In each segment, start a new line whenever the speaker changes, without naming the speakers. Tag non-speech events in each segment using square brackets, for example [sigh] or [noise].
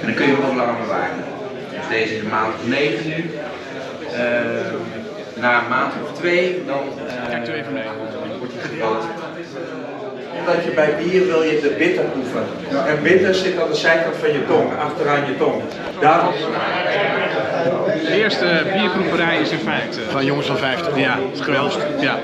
En dan kun je hem ook langer bewaren. Dus deze is een maand of negen nu. Ehm, na een maand of twee, dan eh, wordt hij gerood.
Omdat je bij bier wil je de bitter proeven. En bitter zit aan de zijkant van je tong, achteraan je tong. Daarom
De eerste bierproeverij is in feite.
Van jongens van 50.
Ja,
het geweldig.
Ja.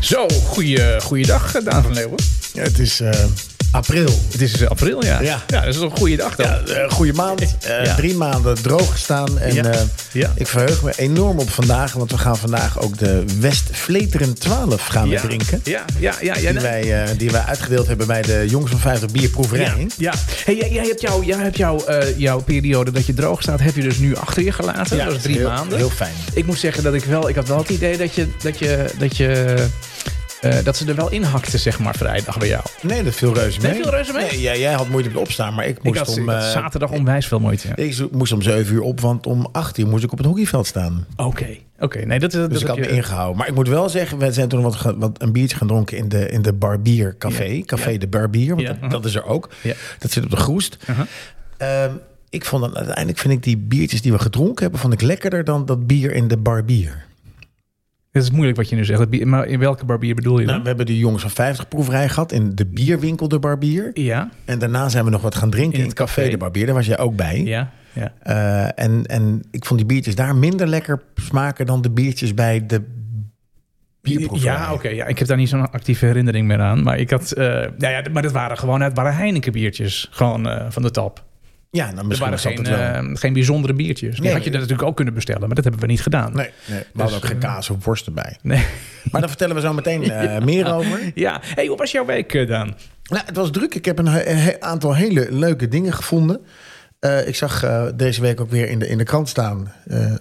Zo, goeie, goeiedag, Daan van Leeuwen.
Ja, het is eh, april.
Het is eh, april, ja.
Ja.
dat is toch een goede dag dan.
Ja, eh, goede maand. Eh,
Ja.
Drie maanden droog gestaan. En
Ja.
eh,
Ja.
ik verheug me enorm op vandaag. Want we gaan vandaag ook de West Vleteren 12 gaan we
Ja.
drinken.
Ja, ja, ja. ja,
Die
ja.
wij, eh, die wij uitgedeeld hebben bij de Jongens van 50 Bierproeverij.
Ja. Hey, jij, jij hebt, jou, jij hebt jou, eh, jouw periode dat je droog staat, heb je dus nu achter je gelaten. dat is drie
heel,
maanden.
Heel fijn.
Ik moet zeggen dat ik wel, ik had wel het idee dat je, dat je, dat je, eh, dat ze er wel in hakten, zeg maar, vrijdag bij jou.
Nee, dat viel reuze mee.
Nee, viel reuze mee?
Nee, ja, jij had moeite met opstaan, maar ik
Ik
moest
had, ik
om...
had
eh,
zaterdag onwijs veel moeite. ja.
ik zo- moest om 7 uur op, want om 8 uur moest ik op het hockeyveld staan.
Oké, oké. Nee, dat, dat,
Dus
dat
ik had
heb
me
je-
ingehouden. Maar ik moet wel zeggen, we zijn toen wat, ge- wat een biertje gaan drinken in de, in de Barbier Café. Café de Barbier, want
Ja.
dat, dat is er ook.
Ja. Uh-huh.
Dat zit op de Groest. Ehm, ik vond dan, uiteindelijk vind ik die biertjes die we gedronken hebben, vond ik lekkerder dan dat bier in de Barbier.
Het is moeilijk wat je nu zegt. Dat bier- Maar in welke barbier bedoel je dan?
Nou, we hebben de jongens van 50 proeverij gehad in de bierwinkel de Barbier.
ja,
En daarna zijn we nog wat gaan drinken
In
in
het
het café,
café.
de Barbier. Daar was jij ook bij.
ja, ja.
Eh, en, en ik vond die biertjes daar minder lekker smaken dan de biertjes bij de bierproeverij.
Ja, oké. ja, ik heb daar niet zo'n actieve herinnering meer aan. Maar ik had, eh, nou ja, maar dat waren gewoon het waren Heineken biertjes, gewoon eh, van de tap.
Ja, nou,
Er
misschien
waren
was dat
geen,
het wel.
eh, geen bijzondere biertjes. Die
Nee.
had je dat natuurlijk ook kunnen bestellen, maar dat hebben we niet gedaan.
Nee, we
Dus,
hadden ook geen
eh,
kaas of worst erbij.
Nee. [laughs]
Maar daar vertellen we zo meteen eh, meer over.
Ja, hey, hoe was jouw week eh, Daan?
Nou, het was druk. Ik heb een he- he- aantal hele leuke dingen gevonden. Eh, ik zag eh, deze week ook weer in de, in de krant staan... eh,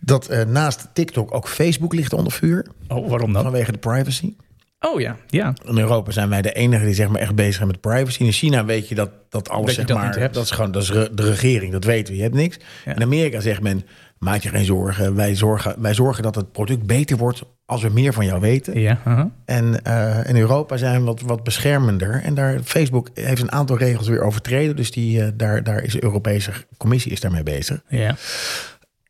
dat eh, naast TikTok ook Facebook ligt onder vuur
Oh, waarom dan?
vanwege de privacy.
Oh ja, ja.
In Europa zijn wij de enige die zeg maar, echt bezig zijn met privacy. In China weet je dat, dat alles
Dat je
zeg
dat
maar,
niet hebt.
dat is gewoon dat is re- de regering, dat weten we. Je hebt niks. In Amerika zegt men, maak je geen zorgen. Wij zorgen, wij zorgen dat het product beter wordt als we meer van jou weten.
Ja, aha.
En eh, in Europa zijn we wat, wat beschermender. En daar, Facebook heeft een aantal regels weer overtreden. Dus die, eh, daar, daar is de Europese Commissie is daarmee bezig.
ja.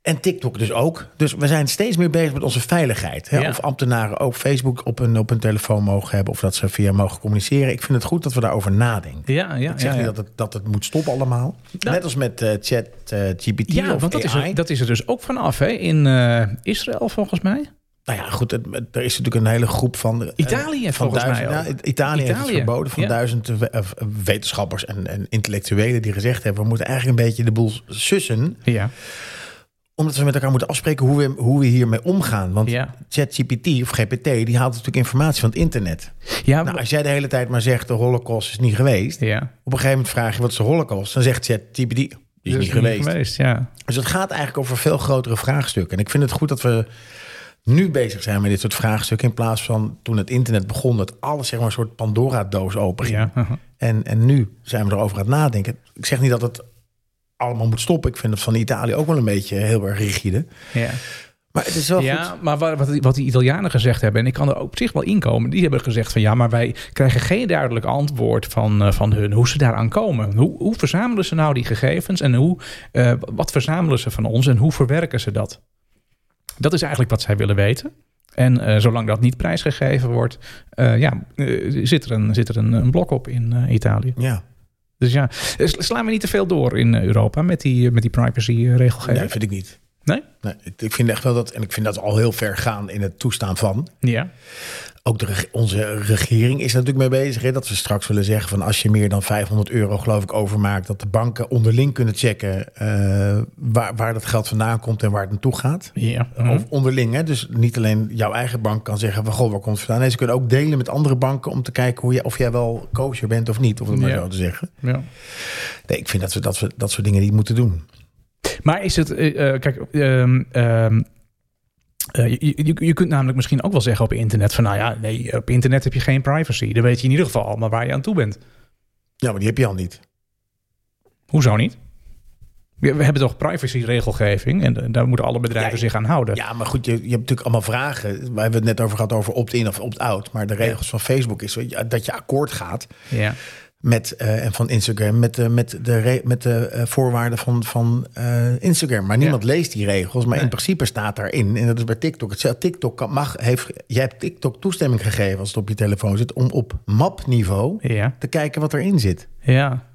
En TikTok dus ook. Dus we zijn steeds meer bezig met onze veiligheid. Hè?
Ja.
Of ambtenaren ook Facebook op hun, op hun telefoon mogen hebben. Of dat ze via mogen communiceren. Ik vind het goed dat we daarover nadenken.
Ja, ja,
Ik zeg
ja,
niet
ja.
dat het, dat het moet stoppen allemaal. Net als met eh, chat eh, GPT
Ja,
of
want dat is,
AI.
er, dat is er dus ook vanaf, hè? In eh, Israël volgens mij.
Nou ja, goed, het- het- er is natuurlijk een hele groep van... eh,
Italië heeft
van
volgens mij
duizend-
ook.
ja, Italië, heeft het
Italië,
verboden van
ja.
duizend we- eh, wetenschappers en, en intellectuelen die gezegd hebben... we moeten eigenlijk een beetje de boel sussen...
Ja,
omdat we met elkaar moeten afspreken hoe we, hoe we hiermee omgaan. Want
Ja.
ChatGPT of GPT, die haalt natuurlijk informatie van het internet.
ja,
Nou, als jij de hele tijd maar zegt, de holocaust is niet geweest...
ja.
op een gegeven moment vraag je, wat is de holocaust? Dan zegt ChatGPT, die is
Dat
niet geweest.
ja.
Dus het gaat eigenlijk over veel grotere vraagstukken. En ik vind het goed dat we nu bezig zijn met dit soort vraagstukken... in plaats van toen het internet begon... dat alles zeg maar, een soort Pandora-doos open ging.
ja. aha.
En, en nu zijn we erover aan het nadenken. Ik zeg niet dat het allemaal moet stoppen. Ik vind het van Italië ook wel een beetje heel erg rigide.
ja.
Maar het is wel goed.
Ja, maar wa- wat, die- wat die Italianen gezegd hebben, en ik kan er ook op zich wel inkomen, die hebben gezegd van ja, maar wij krijgen geen duidelijk antwoord van, eh, van hun hoe ze daaraan komen. Hoe, hoe verzamelen ze nou die gegevens en hoe, eh, wat verzamelen ze van ons en hoe verwerken ze dat? Dat is eigenlijk wat zij willen weten. En eh, zolang dat niet prijsgegeven wordt, eh, ja, eh, zit er, een, zit er een, een blok op in eh, Italië.
Ja,
Dus ja, eh, sla- slaan we niet te veel door in eh, Europa met die, met die eh, privacy-regelgeving?
nee, vind ik niet.
Nee?
Nee, ik ik vind echt wel dat, en ik vind dat al heel ver gaan in het toestaan van.
Ja.
Ook de, reg- onze regering is er natuurlijk mee bezig. Hè, dat ze straks willen zeggen van als je meer dan 500 euro geloof ik overmaakt, dat de banken onderling kunnen checken eh, waar, waar dat geld vandaan komt en waar het naartoe gaat.
ja.
Of onderling, hè? dus niet alleen jouw eigen bank kan zeggen van goh, waar komt het vandaan? Nee, ze kunnen ook delen met andere banken om te kijken hoe je, of jij wel kosher bent of niet, of het maar
Ja.
zo te zeggen.
ja.
Nee, ik vind dat we dat, we, dat soort dingen niet moeten doen.
Maar is het, eh, eh, kijk, ehm, ehm, eh, je, je, je kunt namelijk misschien ook wel zeggen op internet van, nou ja, nee, op internet heb je geen privacy. Dan weet je in ieder geval allemaal waar je aan toe bent.
Ja, maar die heb je al niet.
Hoezo niet? We we hebben toch privacy-regelgeving en eh, daar moeten alle bedrijven
Ja,
zich aan houden.
Ja, maar goed, je, je hebt natuurlijk allemaal vragen. We hebben het net over gehad over opt-in of opt-out. Maar de regels van Facebook is ja, dat je akkoord gaat
Ja.
met, eh, en van Instagram, met, de met de, re- met de eh, voorwaarden van, van eh, Instagram. Maar niemand leest die regels, maar in principe staat daarin. En dat is bij TikTok. hetzelfde. TikTok kan, mag, heeft, jij hebt TikTok toestemming gegeven als het op je telefoon zit, om op mapniveau
Ja.
te kijken wat erin zit.
Ja.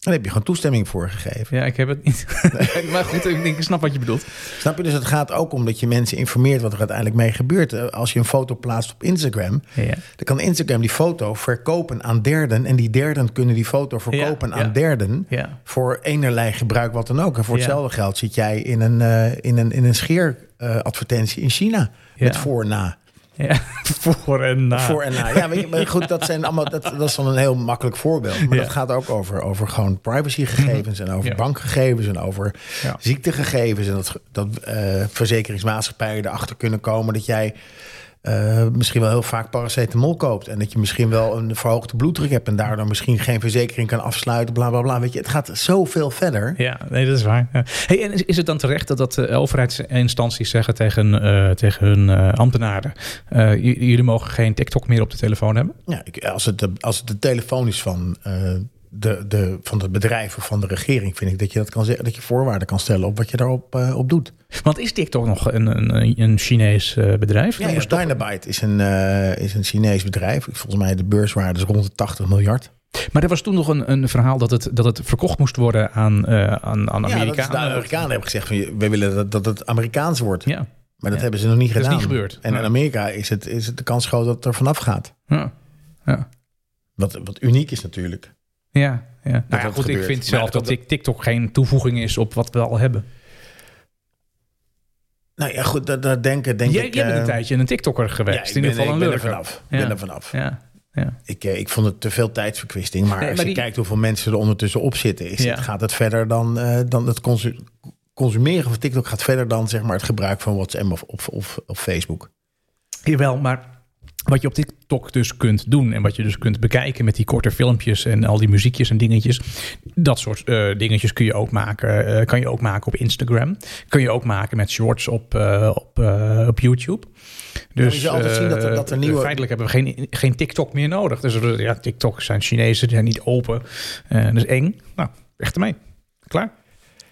Daar heb je gewoon toestemming voor gegeven.
ja, ik heb het
[laughs]
niet. [laughs] maar goed, ik, denk, ik snap wat je bedoelt.
Snap je? Dus het gaat ook om dat je mensen informeert wat er uiteindelijk mee gebeurt. Eh, Als je een foto plaatst op Instagram,
Ja.
dan kan Instagram die foto verkopen aan derden. En die derden kunnen die foto verkopen
Ja,
aan
ja.
derden.
Ja.
Voor enerlei gebruik, wat dan ook. En voor
Ja.
hetzelfde geld zit jij in een, eh, in een, in een scheeradvertentie in China.
Ja.
Met voor en na.
ja. [laughs] Voor en na.
Voor en na. Ja, weet je, maar goed, dat, zijn allemaal, dat, dat is dan een heel makkelijk voorbeeld. Maar
Ja. Mhm.
dat gaat ook over, over gewoon privacygegevens en over
Ja.
bankgegevens en over
Ja.
ziektegegevens. En dat, dat eh, verzekeringsmaatschappijen erachter kunnen komen dat jij eh, misschien wel heel vaak paracetamol koopt. En dat je misschien wel een verhoogde bloeddruk hebt en daardoor misschien geen verzekering kan afsluiten. Bla bla bla. Weet je, het gaat zoveel verder.
Ja, nee, dat is waar. Ja. Hey, en is, is het dan terecht dat, dat de overheidsinstanties zeggen tegen, eh, tegen hun eh, ambtenaren: eh, j- jullie mogen geen TikTok meer op de telefoon hebben?
Ja, ik, als, het de, als het de telefoon is van, eh, de, de, van het bedrijf of van de regering, vind ik dat je dat kan zeggen. Dat je voorwaarden kan stellen op wat je daarop eh, op doet.
Want is TikTok nog een, een, een Chinees eh, bedrijf?
Ja, ja, Dynabyte is een, eh, is een Chinees bedrijf. Volgens mij de beurswaarde is rond de 80 miljard.
Maar er was toen nog een, een verhaal dat het, dat het verkocht moest worden aan, eh aan, aan
Ja, dat is de
Amerikanen.
Amerikanen hebben gezegd van we willen dat, dat het Amerikaans wordt.
Ja.
Maar dat hebben ze nog niet
is
gedaan.
niet gebeurd.
En
Ja.
in Amerika is het, is het de kans groot dat het er vanaf gaat.
Ja. Ja.
Wat, wat uniek is natuurlijk.
Ja, ja. Nou ja,
dat
goed, ik
gebeurt.
vind
Maar
zelf dat,
dat-
tik- TikTok geen toevoeging is op wat we al hebben.
Nou ja, goed, daar, daar denken denk
Jij,
ik...
jij bent een
eh,
tijdje een TikToker
ja,
geweest.
ik
in
ben-
ieder geval
ik
een
ben er
lurker.
vanaf.
Ja.
Ik ben er vanaf.
Ja. Ja.
Ik, eh, ik vond het te veel tijdsverkwisting. Maar
Nee,
als
maar
je
die-
kijkt hoeveel mensen er ondertussen op zitten, is
Ja.
het, gaat het verder dan, eh, dan het consu- consumeren van TikTok gaat verder dan zeg maar, het gebruik van WhatsApp of, of, of, of Facebook.
Jawel, maar wat je op TikTok dus kunt doen en wat je dus kunt bekijken met die korte filmpjes en al die muziekjes en dingetjes, dat soort eh, dingetjes kun je ook maken. eh, kan je ook maken op Instagram. Kun je ook maken met shorts op, eh, op, eh, op YouTube. Dus
je zal altijd
eh,
zien dat er- dat er nieuwe-
feitelijk hebben we geen, geen TikTok meer nodig. Dus we- ja, TikTok zijn Chinezen, die zijn niet open. Eh, dat is eng. Nou, echt ermee. Klaar?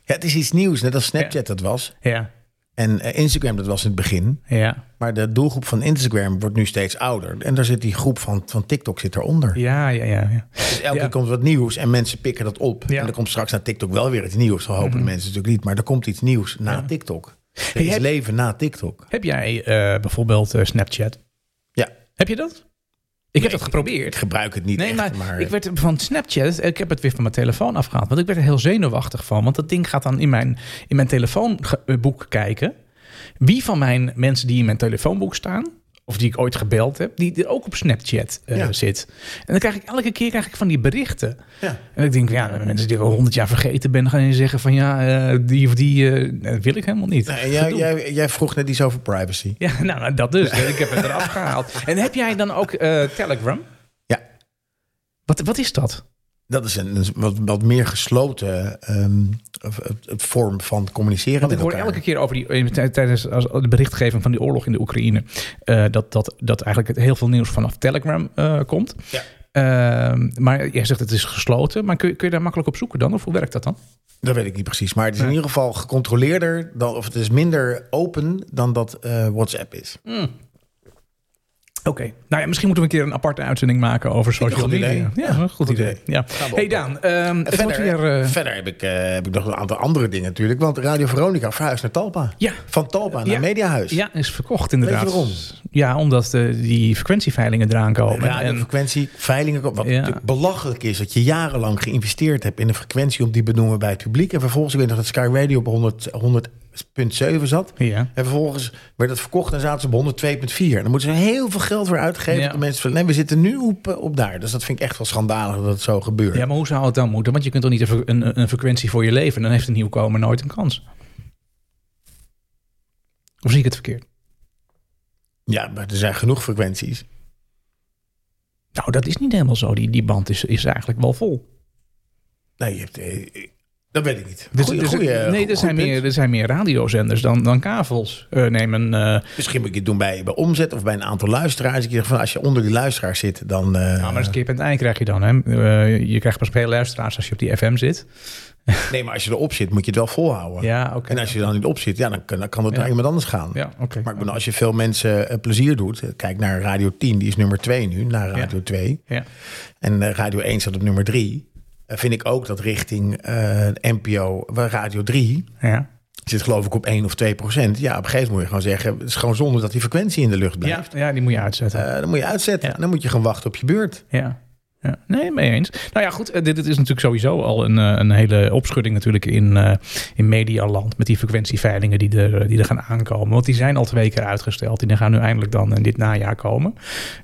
Ja, het is iets nieuws, net als Snapchat
Ja.
dat was.
Ja,
En eh, Instagram dat was in het begin.
ja.
Maar de doelgroep van Instagram wordt nu steeds ouder. En daar zit die groep van, van TikTok zit eronder.
Ja, ja, ja. ja.
Dus elke
Ja.
keer komt wat nieuws en mensen pikken dat op.
Ja. Mhm.
En er komt straks naar TikTok wel weer iets nieuws. Dat hopen de mensen natuurlijk niet. Maar er komt iets nieuws na TikTok. Er
Hey,
is
heb-
leven na TikTok.
Heb jij eh, bijvoorbeeld eh, Snapchat?
Ja,
Heb je dat? Ik heb dat geprobeerd.
ik gebruik het niet
Nee,
echt,
maar,
maar,
ik werd van Snapchat, ik heb het weer van mijn telefoon afgehaald. Want ik werd er heel zenuwachtig van. Want dat ding gaat dan in mijn, in mijn telefoonboek kijken. Wie van mijn mensen die in mijn telefoonboek staan, of die ik ooit gebeld heb, die er ook op Snapchat eh,
Ja.
zit. En dan krijg ik elke keer krijg ik van die berichten.
Ja.
En ik denk, ja, mensen die ik al honderd jaar vergeten ben, gaan zeggen van ja, eh, die of die eh, dat wil ik helemaal niet.
Nou, en jij,
Gedoe.
jij, jij vroeg net iets over privacy.
Ja, [laughs] nou, nou, dat dus. Ik heb het eraf gehaald. En heb jij dan ook eh, Telegram?
Ja.
Wat, wat is dat?
Dat is een, een wat, wat meer gesloten ehm, of- het- het vorm van communiceren
Want ik
met
hoor
elkaar.
elke keer over die, tij- tijdens als- de berichtgeving van die oorlog in de Oekraïne, eh, dat, dat, dat eigenlijk het heel veel nieuws vanaf Telegram eh, komt.
Ja.
Ehm, maar jij zegt het is gesloten, maar kun, je- kun je daar makkelijk op zoeken dan? Of hoe werkt dat dan?
Dat weet ik niet precies. Maar het is
Nee.
in ieder geval gecontroleerder dan, of het is minder open dan dat eh, WhatsApp is.
Oké, nou ja, misschien moeten we een keer een aparte uitzending maken over social
een goed
media.
idee.
Ja, een goed, idee. Ja. Hey Daan, ehm, het wordt
Verder,
weer... eh,
verder heb, ik, eh, heb ik nog een aantal andere dingen natuurlijk. Want Radio Veronica verhuist naar Talpa.
Ja.
Van Talpa naar
Ja.
Mediahuis.
ja, is verkocht inderdaad.
Weet je waarom?
Ja, omdat eh, die frequentieveilingen eraan komen. en,
Radiofrequentie, veilingen. Wat
Ja.
natuurlijk belachelijk is dat je jarenlang geïnvesteerd hebt in een frequentie om die benoemen bij het publiek. En vervolgens, ik weet nog dat Sky Radio op 100 100.7 zat.
ja.
En vervolgens werd het verkocht en zaten ze op 102,4. En dan moeten ze heel veel geld weer uitgeven.
Ja.
Dat De mensen van, nee, we zitten nu op, eh, op daar. Dus dat vind ik echt wel schandalig dat het zo gebeurt.
ja, maar hoe zou het dan moeten? Want je kunt toch niet een, fre- een, een frequentie voor je leven. Dan heeft een nieuwkomer nooit een kans. Of zie ik het verkeerd?
Ja, maar er zijn genoeg frequenties.
Nou, dat is niet helemaal zo. Die, die band is, is eigenlijk wel vol.
Nee, je hebt, eh, Dat weet ik niet. Dit is een goede.
Dus- nee, er zijn, meer, er zijn meer radiozenders dan, dan kavels. Eh nemen, eh,
Misschien moet ik het doen bij, bij omzet of bij een aantal luisteraars. Ik zeg van als je onder die luisteraars zit, dan. eh,
nou, maar het kip en het ei krijg je dan. Hè. Eh, je krijgt pas veel luisteraars als je op die FM zit.
Nee, maar als je erop zit, moet je het wel volhouden.
Ja, oké.
En als je er dan niet op zit, ja, dan, kan- dan kan het
Ja.
naar iemand anders gaan.
Ja, oké.
Maar ik bedoel, als je veel mensen eh, plezier doet, eh, kijk naar Radio 10, die is nummer 2 nu, naar Radio 2.
Ja.
En eh, Radio 1 staat op nummer 3. Eh, vind ik ook dat richting eh, NPO, waar Radio 3
Ja.
zit geloof ik op 1 of 2 procent. Ja, op een gegeven moment moet je gewoon zeggen, het is gewoon zonde dat die frequentie in de lucht
Ja,
blijft.
ja, die moet je uitzetten.
Eh, dan moet je uitzetten
Ja.
en dan moet je gewoon wachten op je beurt.
Ja. ja. Nee, mee eens. Nou ja, goed. eh, Dit, dit is natuurlijk sowieso al een, eh, een hele opschudding natuurlijk in, eh in medialand. Met die frequentieveilingen die er, die er gaan aankomen. Want die zijn al twee keer uitgesteld. Die gaan nu eindelijk dan in dit najaar komen.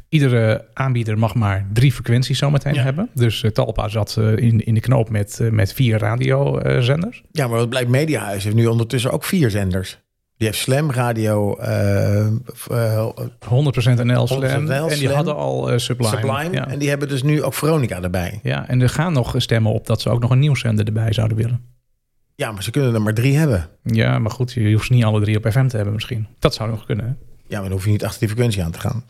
Iedere aanbieder mag maar drie frequenties zometeen hebben. Dus eh, Talpa zat eh, in, in de knoop met, eh, met vier radiozenders.
Ja, maar wat blijkt, Mediahuis heeft nu ondertussen ook vier zenders. Die heeft Slam, Radio, eh, v- eh,
100% NL Slam.
100% NL
En die
Slam.
hadden al eh, Sublime.
Sublime.
Ja.
En die hebben dus nu ook Veronica erbij.
ja, en er gaan nog stemmen op dat ze ook nog een nieuwszender erbij zouden willen.
Ja, maar ze kunnen er maar drie hebben.
Ja, maar goed, je hoeft ze niet alle drie op FM te hebben misschien. Dat zou nog kunnen. hè?
Ja, maar dan hoef je niet achter die frequentie aan te gaan.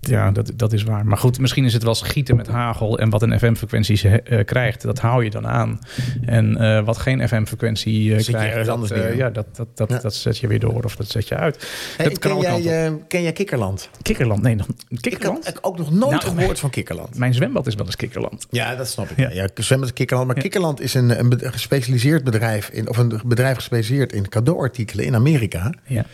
Ja, dat, dat is waar. Maar goed, misschien is het wel schieten met hagel. En wat een FM-frequentie ze, eh, krijgt, dat hou je dan aan. En eh, wat geen FM-frequentie eh,
Zet je
krijgt,
ergens
dat,
anders
eh,
neer.
ja, dat, dat, dat,
Ja.
dat zet je weer door of dat zet je uit.
Hey,
dat kan
ken,
ook
jij,
kant op.
eh, ken jij Kikkerland?
Kikkerland, nee, nog,
Ik had
Kikkerland?
eigenlijk ook nog nooit
Nou,
gehoord van Kikkerland.
Mijn zwembad is wel eens Kikkerland.
Ja, dat snap ik.
Ja.
Ja, ja zwemmen is Kikkerland. Maar Kikkerland is een, een be- gespecialiseerd bedrijf... In, of een bedrijf gespecialiseerd in cadeauartikelen in Amerika...
Ja.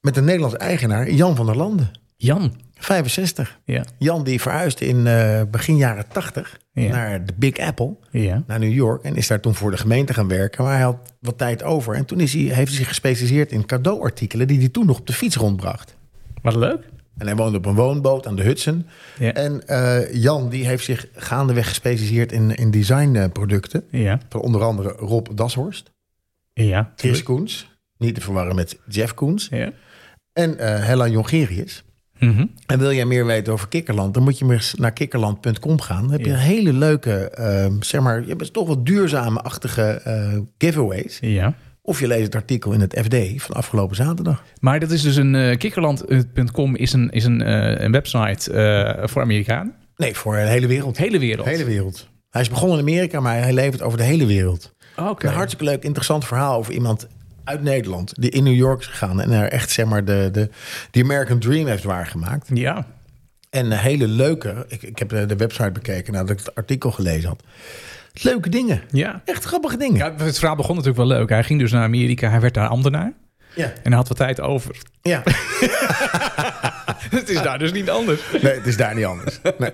met een Nederlands eigenaar, Jan van der Landen.
Jan.
65.
Ja.
Jan die verhuisde in eh, begin jaren 80
Ja.
naar de Big Apple...
Ja.
naar New York en is daar toen voor de gemeente gaan werken. Maar hij had wat tijd over. En toen is hij, heeft hij zich gespecialiseerd in cadeauartikelen... die hij toen nog op de fiets rondbracht.
Wat leuk.
En hij woonde op een woonboot aan de Hudson.
Ja.
En eh, Jan die heeft zich gaandeweg gespecialiseerd in, in designproducten.
Ja.
Van onder andere Rob Dashorst,
Ja.
Chris Koens. Niet te verwarren met Jeff Koens.
Ja.
En eh Hella Jongerius.
Mhm.
En wil jij meer weten over Kikkerland, dan moet je maar eens naar kikkerland.com gaan. Dan heb je hele leuke, ehm, zeg maar, je hebt toch wel duurzame-achtige eh, giveaways.
Ja.
Of je leest het artikel in het FD van afgelopen zaterdag.
Maar dat is dus een eh, kikkerland.com is een, is een, eh, een website eh, voor Amerikanen.
Nee, voor de hele wereld.
De hele wereld.
De hele wereld. Hij is begonnen in Amerika, maar hij levert over de hele wereld.
Oké.
Een hartstikke leuk, interessant verhaal over iemand uit Nederland die in New York is gegaan en er echt zeg maar de, de die American Dream heeft waargemaakt.
Ja.
En een hele leuke, ik, ik heb de de website bekeken nadat ik het artikel gelezen had. Leuke dingen.
Ja.
Echt grappige dingen.
ja. Het verhaal begon natuurlijk wel leuk. Hij ging dus naar Amerika. Hij werd daar ambtenaar.
Ja.
En hij had wat tijd over.
ja.
[laughs] het is daar dus niet anders.
[laughs] Nee, het is daar niet anders. Nee.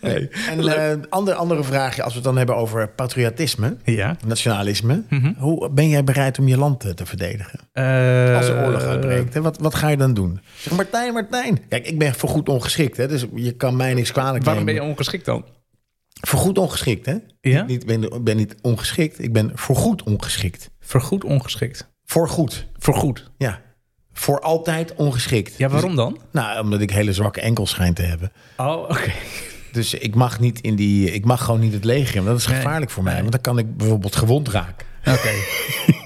Nee. En eh ander, andere vraagje, als we het dan hebben over patriotisme,
Ja.
nationalisme.
Mhm.
Hoe ben jij bereid om je land eh, te verdedigen?
Eh,
Als er oorlog uitbreekt, hè? Wat, wat ga je dan doen? Zeg, Martijn, Martijn. Kijk, ik ben voorgoed ongeschikt, hè? dus je kan mij niks kwalijk
Waarom
nemen.
ben je ongeschikt dan?
Voorgoed ongeschikt, hè?
Ja?
Ik niet- ben, ben niet ongeschikt, ik ben voorgoed ongeschikt.
Vergoed ongeschikt.
Voorgoed,
Vergoed.
ja. Voor altijd ongeschikt.
Ja, waarom dan?
Dus- nou, omdat ik hele zwakke enkels schijn te hebben.
Oh, oké.
Dus ik mag, niet in die, ik mag gewoon niet het leger in. Dat is gevaarlijk voor mij, want dan kan ik bijvoorbeeld gewond raken.
Oké. [laughs]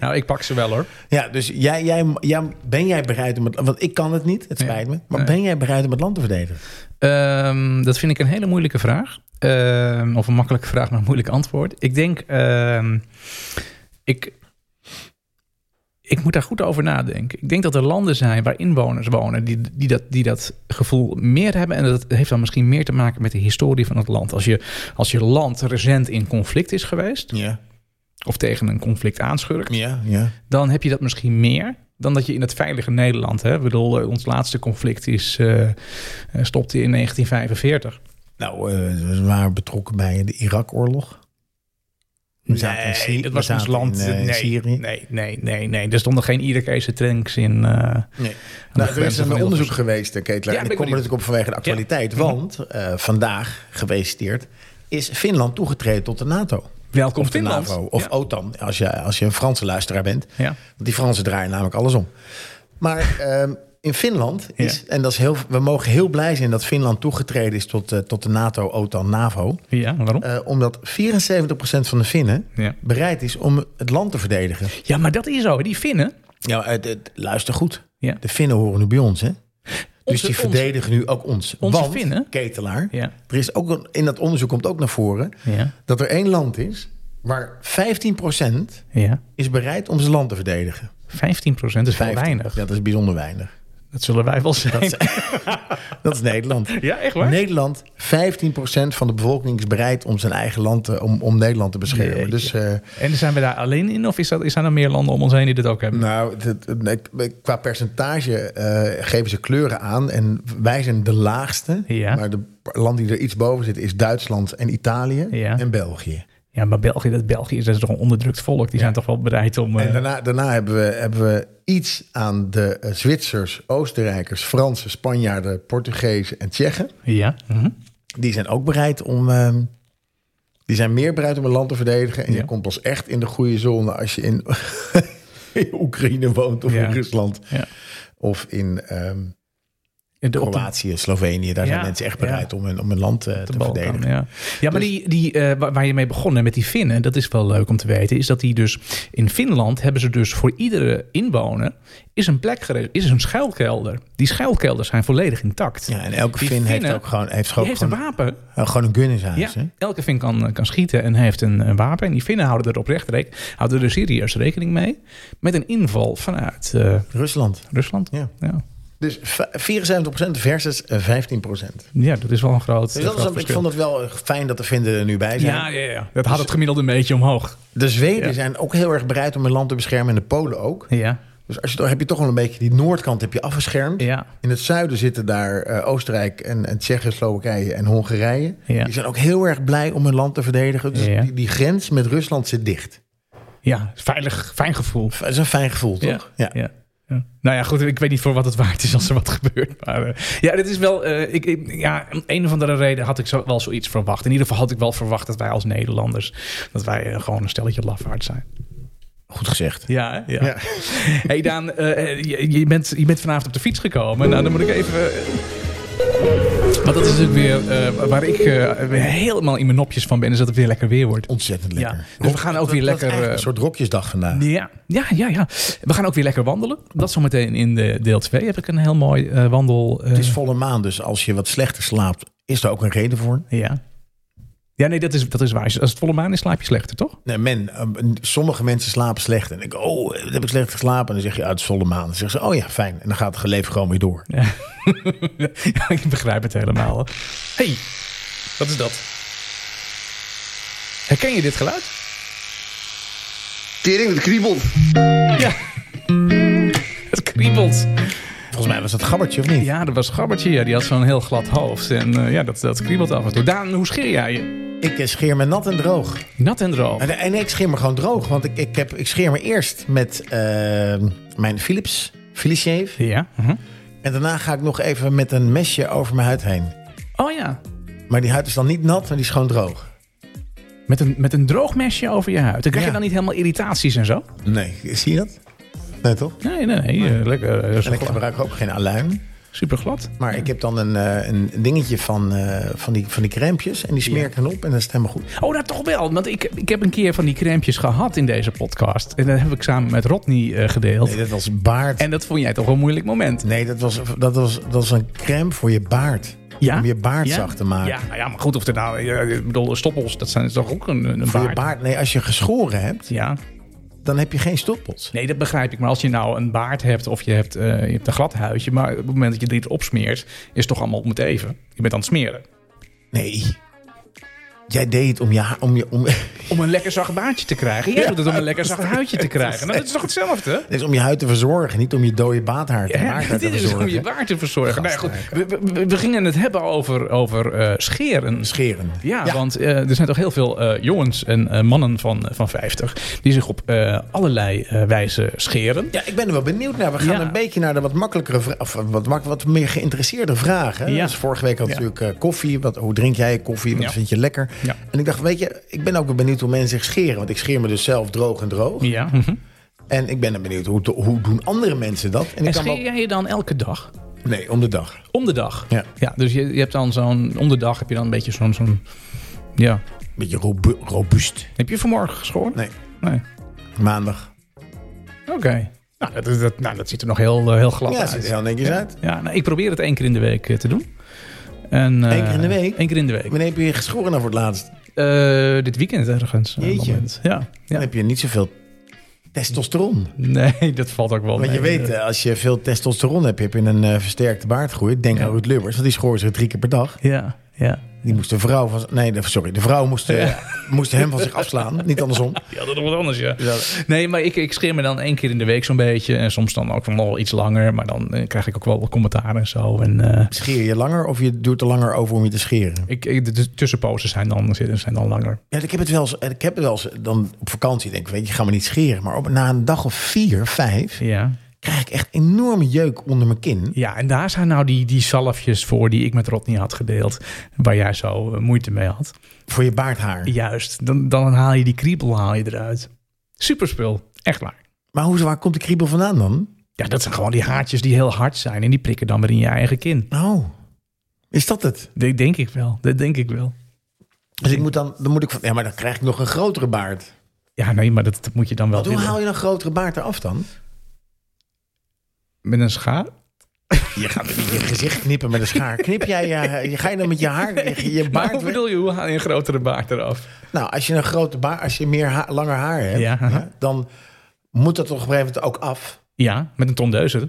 nou, ik pak ze wel hoor.
Ja, dus jij, jij, jij, ben jij bereid om het... Want ik kan het niet, het
Nee.
spijt me. Maar ben jij bereid om het land te verdedigen?
Ehm, dat vind ik een hele moeilijke vraag. Ehm, of een makkelijke [laughs] vraag, maar een moeilijk antwoord. Ik denk, ehm, ik, ik moet daar goed over nadenken. Ik denk dat er landen zijn waar inwoners wonen die, die, dat, die dat gevoel meer hebben. En dat heeft dan misschien meer te maken met de historie van het land. Als je, als je land recent in conflict is geweest,
Ja,
of tegen een conflict aanschurkt,
ja, ja.
dan heb je dat misschien meer dan dat je in het veilige Nederland. Hè? Ik bedoel, eh, ons laatste conflict is, eh, eh, stopte in 1945.
Nou, eh, we waren betrokken bij de Irak-oorlog. We zaten in Syrië-
dat
we
was ons
zaten
land.
in, eh,
nee,
Syrië.
nee, nee, nee, nee. Er stonden geen Irakese tanks in. eh, de
Nee. Nou, er
grenzen
is
van
een onderzoek
Hilversum.
geweest, eh, Ketelaar.
Ja,
en
ben
ik
ik
kom er
benieuwd.
natuurlijk op vanwege de actualiteit.
[laughs]
Want eh, vandaag, gefeliciteerd, is Finland toegetreden tot de NATO.
Welkom
of de
Finland.
NAVO. Of
Ja.
OTAN, als je, als je een Franse luisteraar bent.
Ja.
Want die Fransen draaien namelijk alles om. Maar ehm, in Finland is, en dat is heel, we mogen heel blij zijn dat Finland toegetreden is tot, eh, tot de NATO, OTAN, NAVO.
Ja, waarom?
Eh, omdat 74% van de Finnen
Ja.
bereid is om het land te verdedigen.
Ja, maar dat is zo. Die Finnen.
Ja, maar het- het- luister goed.
Ja.
De Finnen horen nu bij ons, hè? Dus
Onze-
die verdedigen nu ook ons.
Onze
Want,
Finnen?
ketelaar,
Ja.
er is ook een, in dat onderzoek komt ook naar voren...
Ja.
dat er één land is waar 15%
Ja.
is bereid om zijn land te verdedigen.
15 is wel
15.
weinig.
Ja, dat is bijzonder weinig.
Dat zullen wij wel zijn.
Dat is Nederland.
[laughs] Ja, echt waar?
Nederland, 15% van de bevolking is bereid om zijn eigen land te, om, om Nederland te beschermen.
Jeetje.
Dus eh,
En zijn we daar alleen in? Of is, dat, is er nog meer landen om ons heen die dit ook hebben?
nou, het- het- nee, qua percentage eh, geven ze kleuren aan. En wij zijn de laagste.
Ja.
Maar de land die er iets boven zit is Duitsland en Italië
Ja.
en België.
Ja, maar België, dat België is, dat is toch een onderdrukt volk. Die zijn toch wel bereid om... eh,
En daarna, daarna hebben, we, hebben we iets aan de eh, Zwitsers, Oostenrijkers, Fransen, Spanjaarden, Portugezen en Tsjechen.
Ja. mhm.
die zijn ook bereid om. ehm, die zijn meer bereid om een land te verdedigen. En
Ja.
je komt pas echt in de goede zone als je in, [laughs] in Oekraïne woont of
Ja.
in Rusland.
Ja.
Of in ehm
En de- op de-
Kroatië, Slovenië. Daar
Ja,
zijn mensen echt bereid
ja.
om, hun, om hun land eh, te,
de Balkan,
verdedigen. Dus-
ja. ja, maar die, die, eh, waar, waar je mee begon hè, met die Finnen, dat is wel leuk om te weten, is dat die dus in Finland hebben ze dus voor iedere inwoner is een plek gere- is een schuilkelder. Die schuilkelders zijn volledig intact.
Ja, en elke
Die
Finn heeft
Finnen,
ook gewoon, heeft
Die
ook
heeft een
gewoon,
wapen.
eh, gewoon een gun in zijn
Ja,
huis. hè?
elke Fin kan, kan schieten en heeft een, een wapen. En die Finnen houden er oprecht rekening, houden er serieus rekening mee. Met een inval vanuit eh,
Rusland.
Rusland.
Ja.
Ja.
Dus va- 74% versus eh, 15%.
Ja, dat is wel een groot,
Dus
groot
dat is, ik
verschil.
vond het wel eh, fijn dat de Finnen er nu bij zijn.
ja, ja, ja, dat had het gemiddelde een beetje omhoog.
De Zweden
Ja.
zijn ook heel erg bereid om hun land te beschermen. En de Polen ook.
Ja,
Dus als je, toch- heb je toch wel een beetje die noordkant heb je afgeschermd.
ja.
In het zuiden zitten daar eh, Oostenrijk en, en Tsjechië, Slowakije en Hongarije.
Ja.
Die zijn ook heel erg blij om hun land te verdedigen. Dus
Ja.
die, die grens met Rusland zit dicht.
Ja, veilig, fijn gevoel.
Dat is een fijn gevoel,
Ja,
toch? Ja.
Ja. Ja. Nou ja, goed, ik weet niet voor wat het waard is als er wat [laughs] gebeurt. Maar eh, ja, dit is wel. eh, ik, ik- ja, om een of andere reden had ik zo, wel zoiets verwacht. In ieder geval had ik wel verwacht dat wij als Nederlanders. dat wij eh, gewoon een stelletje lafaard zijn.
Goed gezegd.
Ja, hè? ja. hey Daan, eh, je, je bent, je bent vanavond op de fiets gekomen. Nou, dan moet ik even. Want dat is natuurlijk weer eh, waar ik eh, weer helemaal in mijn nopjes van ben. Is dat het weer lekker weer wordt.
Ontzettend lekker.
Ja. Dus we gaan ook weer
Dat is
lekker.
eigenlijk
eh,
een soort rokjesdag vandaag.
ja, ja, ja, ja. We gaan ook weer lekker wandelen. Dat zometeen in de deel 2 heb ik een heel mooi eh, wandel. eh,
Het is volle maan, dus als je wat slechter slaapt, is daar ook een reden voor.
ja. ja, nee, dat is, dat is waar. Als het volle maan is, slaap je slechter, toch? [laughs]
Nee, men, eh, sommige mensen slapen slecht. En ik, oh, wat heb ik slecht geslapen? En dan zeg je, uit het is volle maan. Dan zeggen ze, oh ja, fijn. En dan gaat het geleef gewoon weer door.
ja, ik begrijp het helemaal. hoor. hey, wat is dat? Herken je dit geluid?
Tering, het kriebelt.
Ja. Het kriebelt.
Volgens mij was dat gabbertje, of niet?
Ja, dat was Gabbertje. Ja, die had zo'n heel glad hoofd. En eh, ja, dat, dat kriebelt af en toe. Daan, hoe scheer jij je?
Ik eh, scheer me nat en droog.
Nat en droog.
En, en ik scheer me gewoon droog. Want ik, ik, heb, ik scheer me eerst met eh, mijn Philips, Philips Shave.
Ja.
uh-huh.
mhm.
En daarna ga ik nog even met een mesje over mijn huid heen.
Oh ja,
Maar die huid is dan niet nat, maar die is gewoon droog.
Met een, met een droog mesje over je huid. Dan krijg je
Ja.
dan niet helemaal irritaties en zo?
Nee, zie je dat? Nee, toch?
Nee, nee, nee. eh, lekker. eh,
En ik
gla-
gebruik ook geen aluin.
Super glad.
Maar ik heb dan een, eh, een dingetje van, eh, van, die, van die crèmpjes. En die smeer ik dan op en dat is het helemaal goed.
Oh, dat toch wel. Want ik, ik heb een keer van die crèmpjes gehad in deze podcast. En dat heb ik samen met Rodney eh, gedeeld.
Nee, dat was baard.
En dat vond jij toch wel een moeilijk moment.
Nee, dat was, dat, was, dat was een crème voor je baard. Om je baard
Ja?
zacht te maken.
Ja, nou ja, maar goed. Of er nou, ja, ik bedoel, stoppels, dat zijn toch ook een, een
Voor je
baard.
baard. Nee, als je geschoren hebt,
Ja,
dan heb je geen stoppels.
nee, dat begrijp ik. Maar als je nou een baard hebt of je hebt, eh, je hebt een glad huidje. Maar op het moment dat je dit opsmeert, is het toch allemaal om het even. Je bent aan het smeren.
Nee. Jij deed het om je haar- om je om, [laughs] het
om een lekker zacht baardje te krijgen. Jij doet het om een lekker zacht huidje te krijgen. Nou, dat is toch hetzelfde?
is om je huid te verzorgen, niet om je dode baardhaar te,
Ja, [laughs]
baardhaar
dit
te
is om je
verzorgen.
baard te verzorgen. Nou ja, goed, we, we- we gingen het hebben over, over eh, scheren.
Scheren.
Ja, want eh, er zijn toch heel veel eh, jongens en eh, mannen van, van 50 die zich op eh, allerlei eh, wijze scheren.
Ja, ik ben er wel benieuwd naar. We gaan
Ja.
een beetje naar de wat makkelijkere vra- of eh, wat, mak- wat meer geïnteresseerde vragen.
Ja.
Dus vorige week had
Ja.
natuurlijk eh, koffie. Wat, hoe drink jij je koffie? Wat
Ja.
vind je lekker?
Ja.
En ik dacht, weet je, ik ben ook wel benieuwd hoe mensen zich scheren. Want ik scheer me dus zelf droog en droog.
Ja, mhm.
En ik ben dan benieuwd, hoe, hoe doen andere mensen dat? En ik
En
kan
scheer
wel-
jij je dan elke dag?
Nee, om de dag.
Om de dag.
Ja.
dus je, je hebt dan zo'n. Om de dag heb je dan een beetje zo'n. zo'n ja.
Beetje robu- robuust.
Heb je vanmorgen geschoren?
Nee,
Nee.
maandag.
Oké. Nou, dat, is- dat, nou, dat ziet er nog heel, eh, heel glad
Ja,
uit.
ziet er heel netjes uit.
Ja, nou, ik probeer het één keer in de week eh, te doen. En, eh,
Eén keer in de week?
Eén keer in de week.
Wanneer heb je geschoren dan voor het laatst?
Eh, dit weekend ergens. eh,
Jeetje.
moment. Ja.
Dan
ja.
heb je niet zoveel testosteron.
Nee, dat valt ook wel
Want je
mee.
weet, eh, als je veel testosteron hebt, heb je een eh, versterkte baardgroei. Denk aan Ruud Lubbers, want die schoor zich drie keer per dag.
Ja, ja.
Die moest de vrouw van... Nee, de- sorry. De vrouw moest, eh, moest hem van zich afslaan. Niet [laughs] andersom.
Ja, dat is wat anders, ja. Nee, maar ik, ik scheer me dan één keer in de week zo'n beetje. En soms dan ook nog wel iets langer. Maar dan eh, krijg ik ook wel wat commentaar en zo. En eh,
Scheer je langer of je doet er langer over om je te scheren?
ik, ik, de- de tussenposes zijn dan, zijn dan langer.
Ja, ik heb het wel eens... Ik heb het wel eens eh, dan op vakantie denk ik, weet je, ik ga me niet scheren. Maar op, na een dag of vier, vijf,
Ja.
krijg ik echt enorme jeuk onder mijn kin.
Ja, en daar zijn nou die, die zalfjes voor die ik met Rodney had gedeeld. Waar jij zo eh, moeite mee had.
Voor je baardhaar.
Juist, dan, dan haal je die kriebel haal je eruit. Superspul, echt waar.
Maar hoe, waar komt de kriebel vandaan dan?
Ja, dat zijn gewoon die haartjes die heel hard zijn. En die prikken dan weer in je eigen kin.
Oh, is dat het?
Dat denk ik wel, dat denk ik wel.
Dus ik moet dan... dan moet ik, van- ja, maar dan krijg ik nog een grotere baard.
Ja, nee, maar dat, dat moet je dan wel
Want hoe
willen.
haal je een grotere baard eraf dan?
Met een schaar?
Je gaat niet je gezicht knippen met een schaar. Knip jij [laughs] je... je- Ga je dan met je haar... Je, je
Maar
baard...
hoe Nou, bedoel je, hoe haal je een grotere baard eraf?
Nou, als je een grote baard, als je meer ha- langer haar hebt,
Ja.
hè, dan moet dat op een gegeven moment ook af.
Ja, met een tondeuze.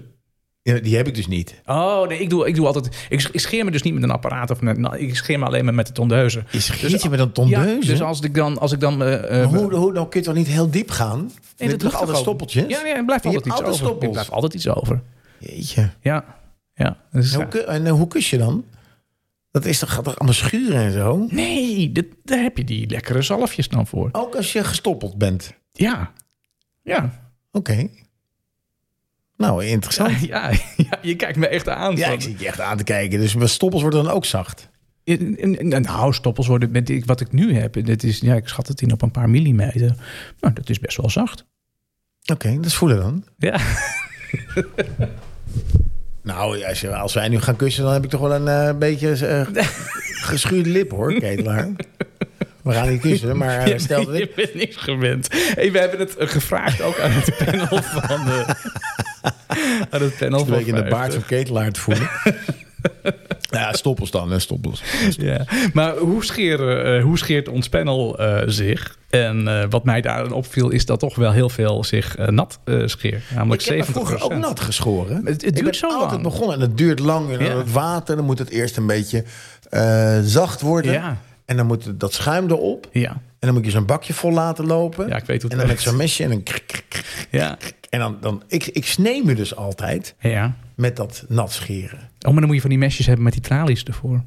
Ja, die heb ik dus niet.
Oh, nee, ik doe, ik doe altijd... Ik, ik scheer me dus niet met een apparaat of met... nou, ik scheer me alleen maar met de tondeuze.
Je schiet je met een tondeuze?
Ja, dus als ik dan... Als ik dan eh, eh,
Dus hoe, hoe, dan kun je toch niet heel diep gaan? Nee,
nee,
dat
lukt
altijd
toch ook.
stoppeltjes.
Ja, ja, er blijft
Je
altijd
hebt
iets
altijd
over.
stoppels.
Er blijft altijd iets over.
Jeetje.
Ja, ja. dat is-
En hoe, ku- en eh, hoe kus je dan? Dat is toch, gaat toch allemaal schuren en zo?
Nee, dat, daar heb je die lekkere zalfjes dan voor.
Ook als je gestoppeld bent.
Ja. Ja. [laughs]
Oké. Nou, interessant. Ja,
ja, ja, je kijkt me echt aan. van-
ik zit je echt aan te kijken. Dus mijn stoppels worden dan ook zacht.
En- en- en Nou, stoppels worden met die- wat ik nu heb. Dat is, ja, ik schat het in op een paar millimeter. Nou, dat is best wel zacht.
Oké, dat is voelen dan.
Ja.
Nou, als, je, als wij nu gaan kussen, dan heb ik toch wel een eh, beetje eh,
[laughs]
geschuurde lip hoor, ketelaar. We gaan niet kussen, maar eh, stel
[laughs]
dat
Je
ik...
bent niks gewend. Hey, we hebben het eh, gevraagd ook aan het
[laughs]
panel van de... aan het panel
Een
van
beetje in de
50.
baard van ketelaar
[laughs]
te voelen. Nou ja, stoppels dan, hè, stoppels.
[laughs] Ja. Maar hoe, scheren, eh, hoe scheert ons panel eh, zich? En eh, wat mij daarin opviel is dat toch wel heel veel zich eh, nat eh scheert. Namelijk
Ik heb me
70%.
vroeger ook nat geschoren.
Het- het
ik ben
duurt zo
altijd
lang.
begonnen en het duurt lang. En dan
Ja.
het water, dan moet het eerst een beetje eh, zacht worden.
Ja.
En dan moet het- dat schuim erop.
Ja.
En dan moet je zo'n bakje vol laten lopen.
Ja, ik weet hoe het
En dan met
werkt.
zo'n mesje en een krik, krik, krik.
Ja.
En dan, dan ik, ik snee me dus altijd
ja.
met dat nat scheren.
Oh, maar dan moet je van die mesjes hebben met die tralies
[laughs]
ervoor.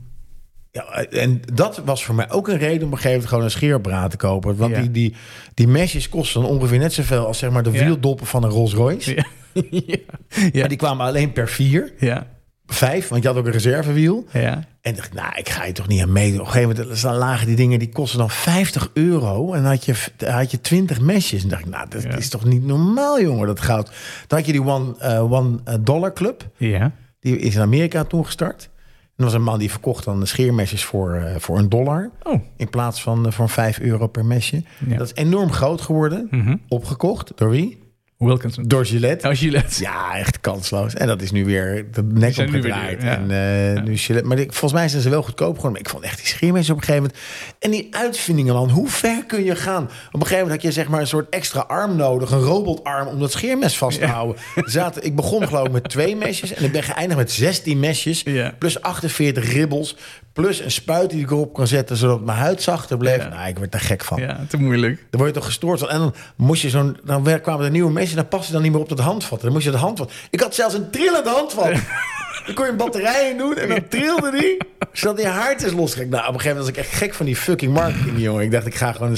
Ja, en dat was voor mij ook een reden om op een gegeven moment gewoon een scheerbraad te kopen. Want
Ja.
die, die, die mesjes kosten dan ongeveer net zoveel als zeg maar de
Ja.
wieldoppen van een Rolls Royce.
Ja. ja. Ja.
Maar die kwamen alleen per vier,
ja.
vijf, want je had ook een reservewiel.
Ja.
En dacht, ik, nou, ik ga je toch niet aan meedoen. Op een gegeven moment dan lagen die dingen, die kosten dan 50 euro. En dan had je, had je 20 mesjes. En dacht ik, nou, dat
Ja.
is toch niet normaal, jongen, dat goud. Dan had je die One, eh, one Dollar Club.
Ja.
Die is in Amerika toen gestart. En er was een man die verkocht dan de scheermesjes voor, eh, voor een dollar.
Oh.
In plaats van eh, voor 5 euro per mesje.
Ja. Mhm.
Dat is enorm groot geworden. Opgekocht door wie?
Wilkinson.
Door Gillette.
Als je let.
Ja, echt kansloos. En dat is nu weer de nek
zijn nu weer
omgedraaid.
duur, ja.
En eh, nu Gillette. Maar ik- volgens mij zijn ze wel goedkoop geworden. Maar ik vond echt die scheermesjes op een gegeven moment. En die uitvindingen, man. Hoe ver kun je gaan? Op een gegeven moment had je zeg maar een soort extra arm nodig. Een robotarm om dat scheermes vast te houden. Er Zaten, ik begon geloof ik met twee mesjes. En ik ben geëindigd met 16 mesjes.
Ja.
Plus 48 ribbels. Plus een spuit die ik erop kon zetten. Zodat mijn huid zachter bleef.
Ja.
Nou, ik werd daar gek van.
Ja, te moeilijk.
Daar word je toch gestoord van. En dan moest je zo'n. Dan werd- kwamen er nieuwe mensen. Dan paste dan niet meer op dat handvat. Dan moest je het handvat. Ik had zelfs een trillend handvat.
[laughs]
Dan kon je een batterij in doen en dan trilde die. Zodat die haartjes losging. Nou, op een gegeven moment was ik echt gek van die fucking marketing, jongen. Ik dacht, ik ga gewoon een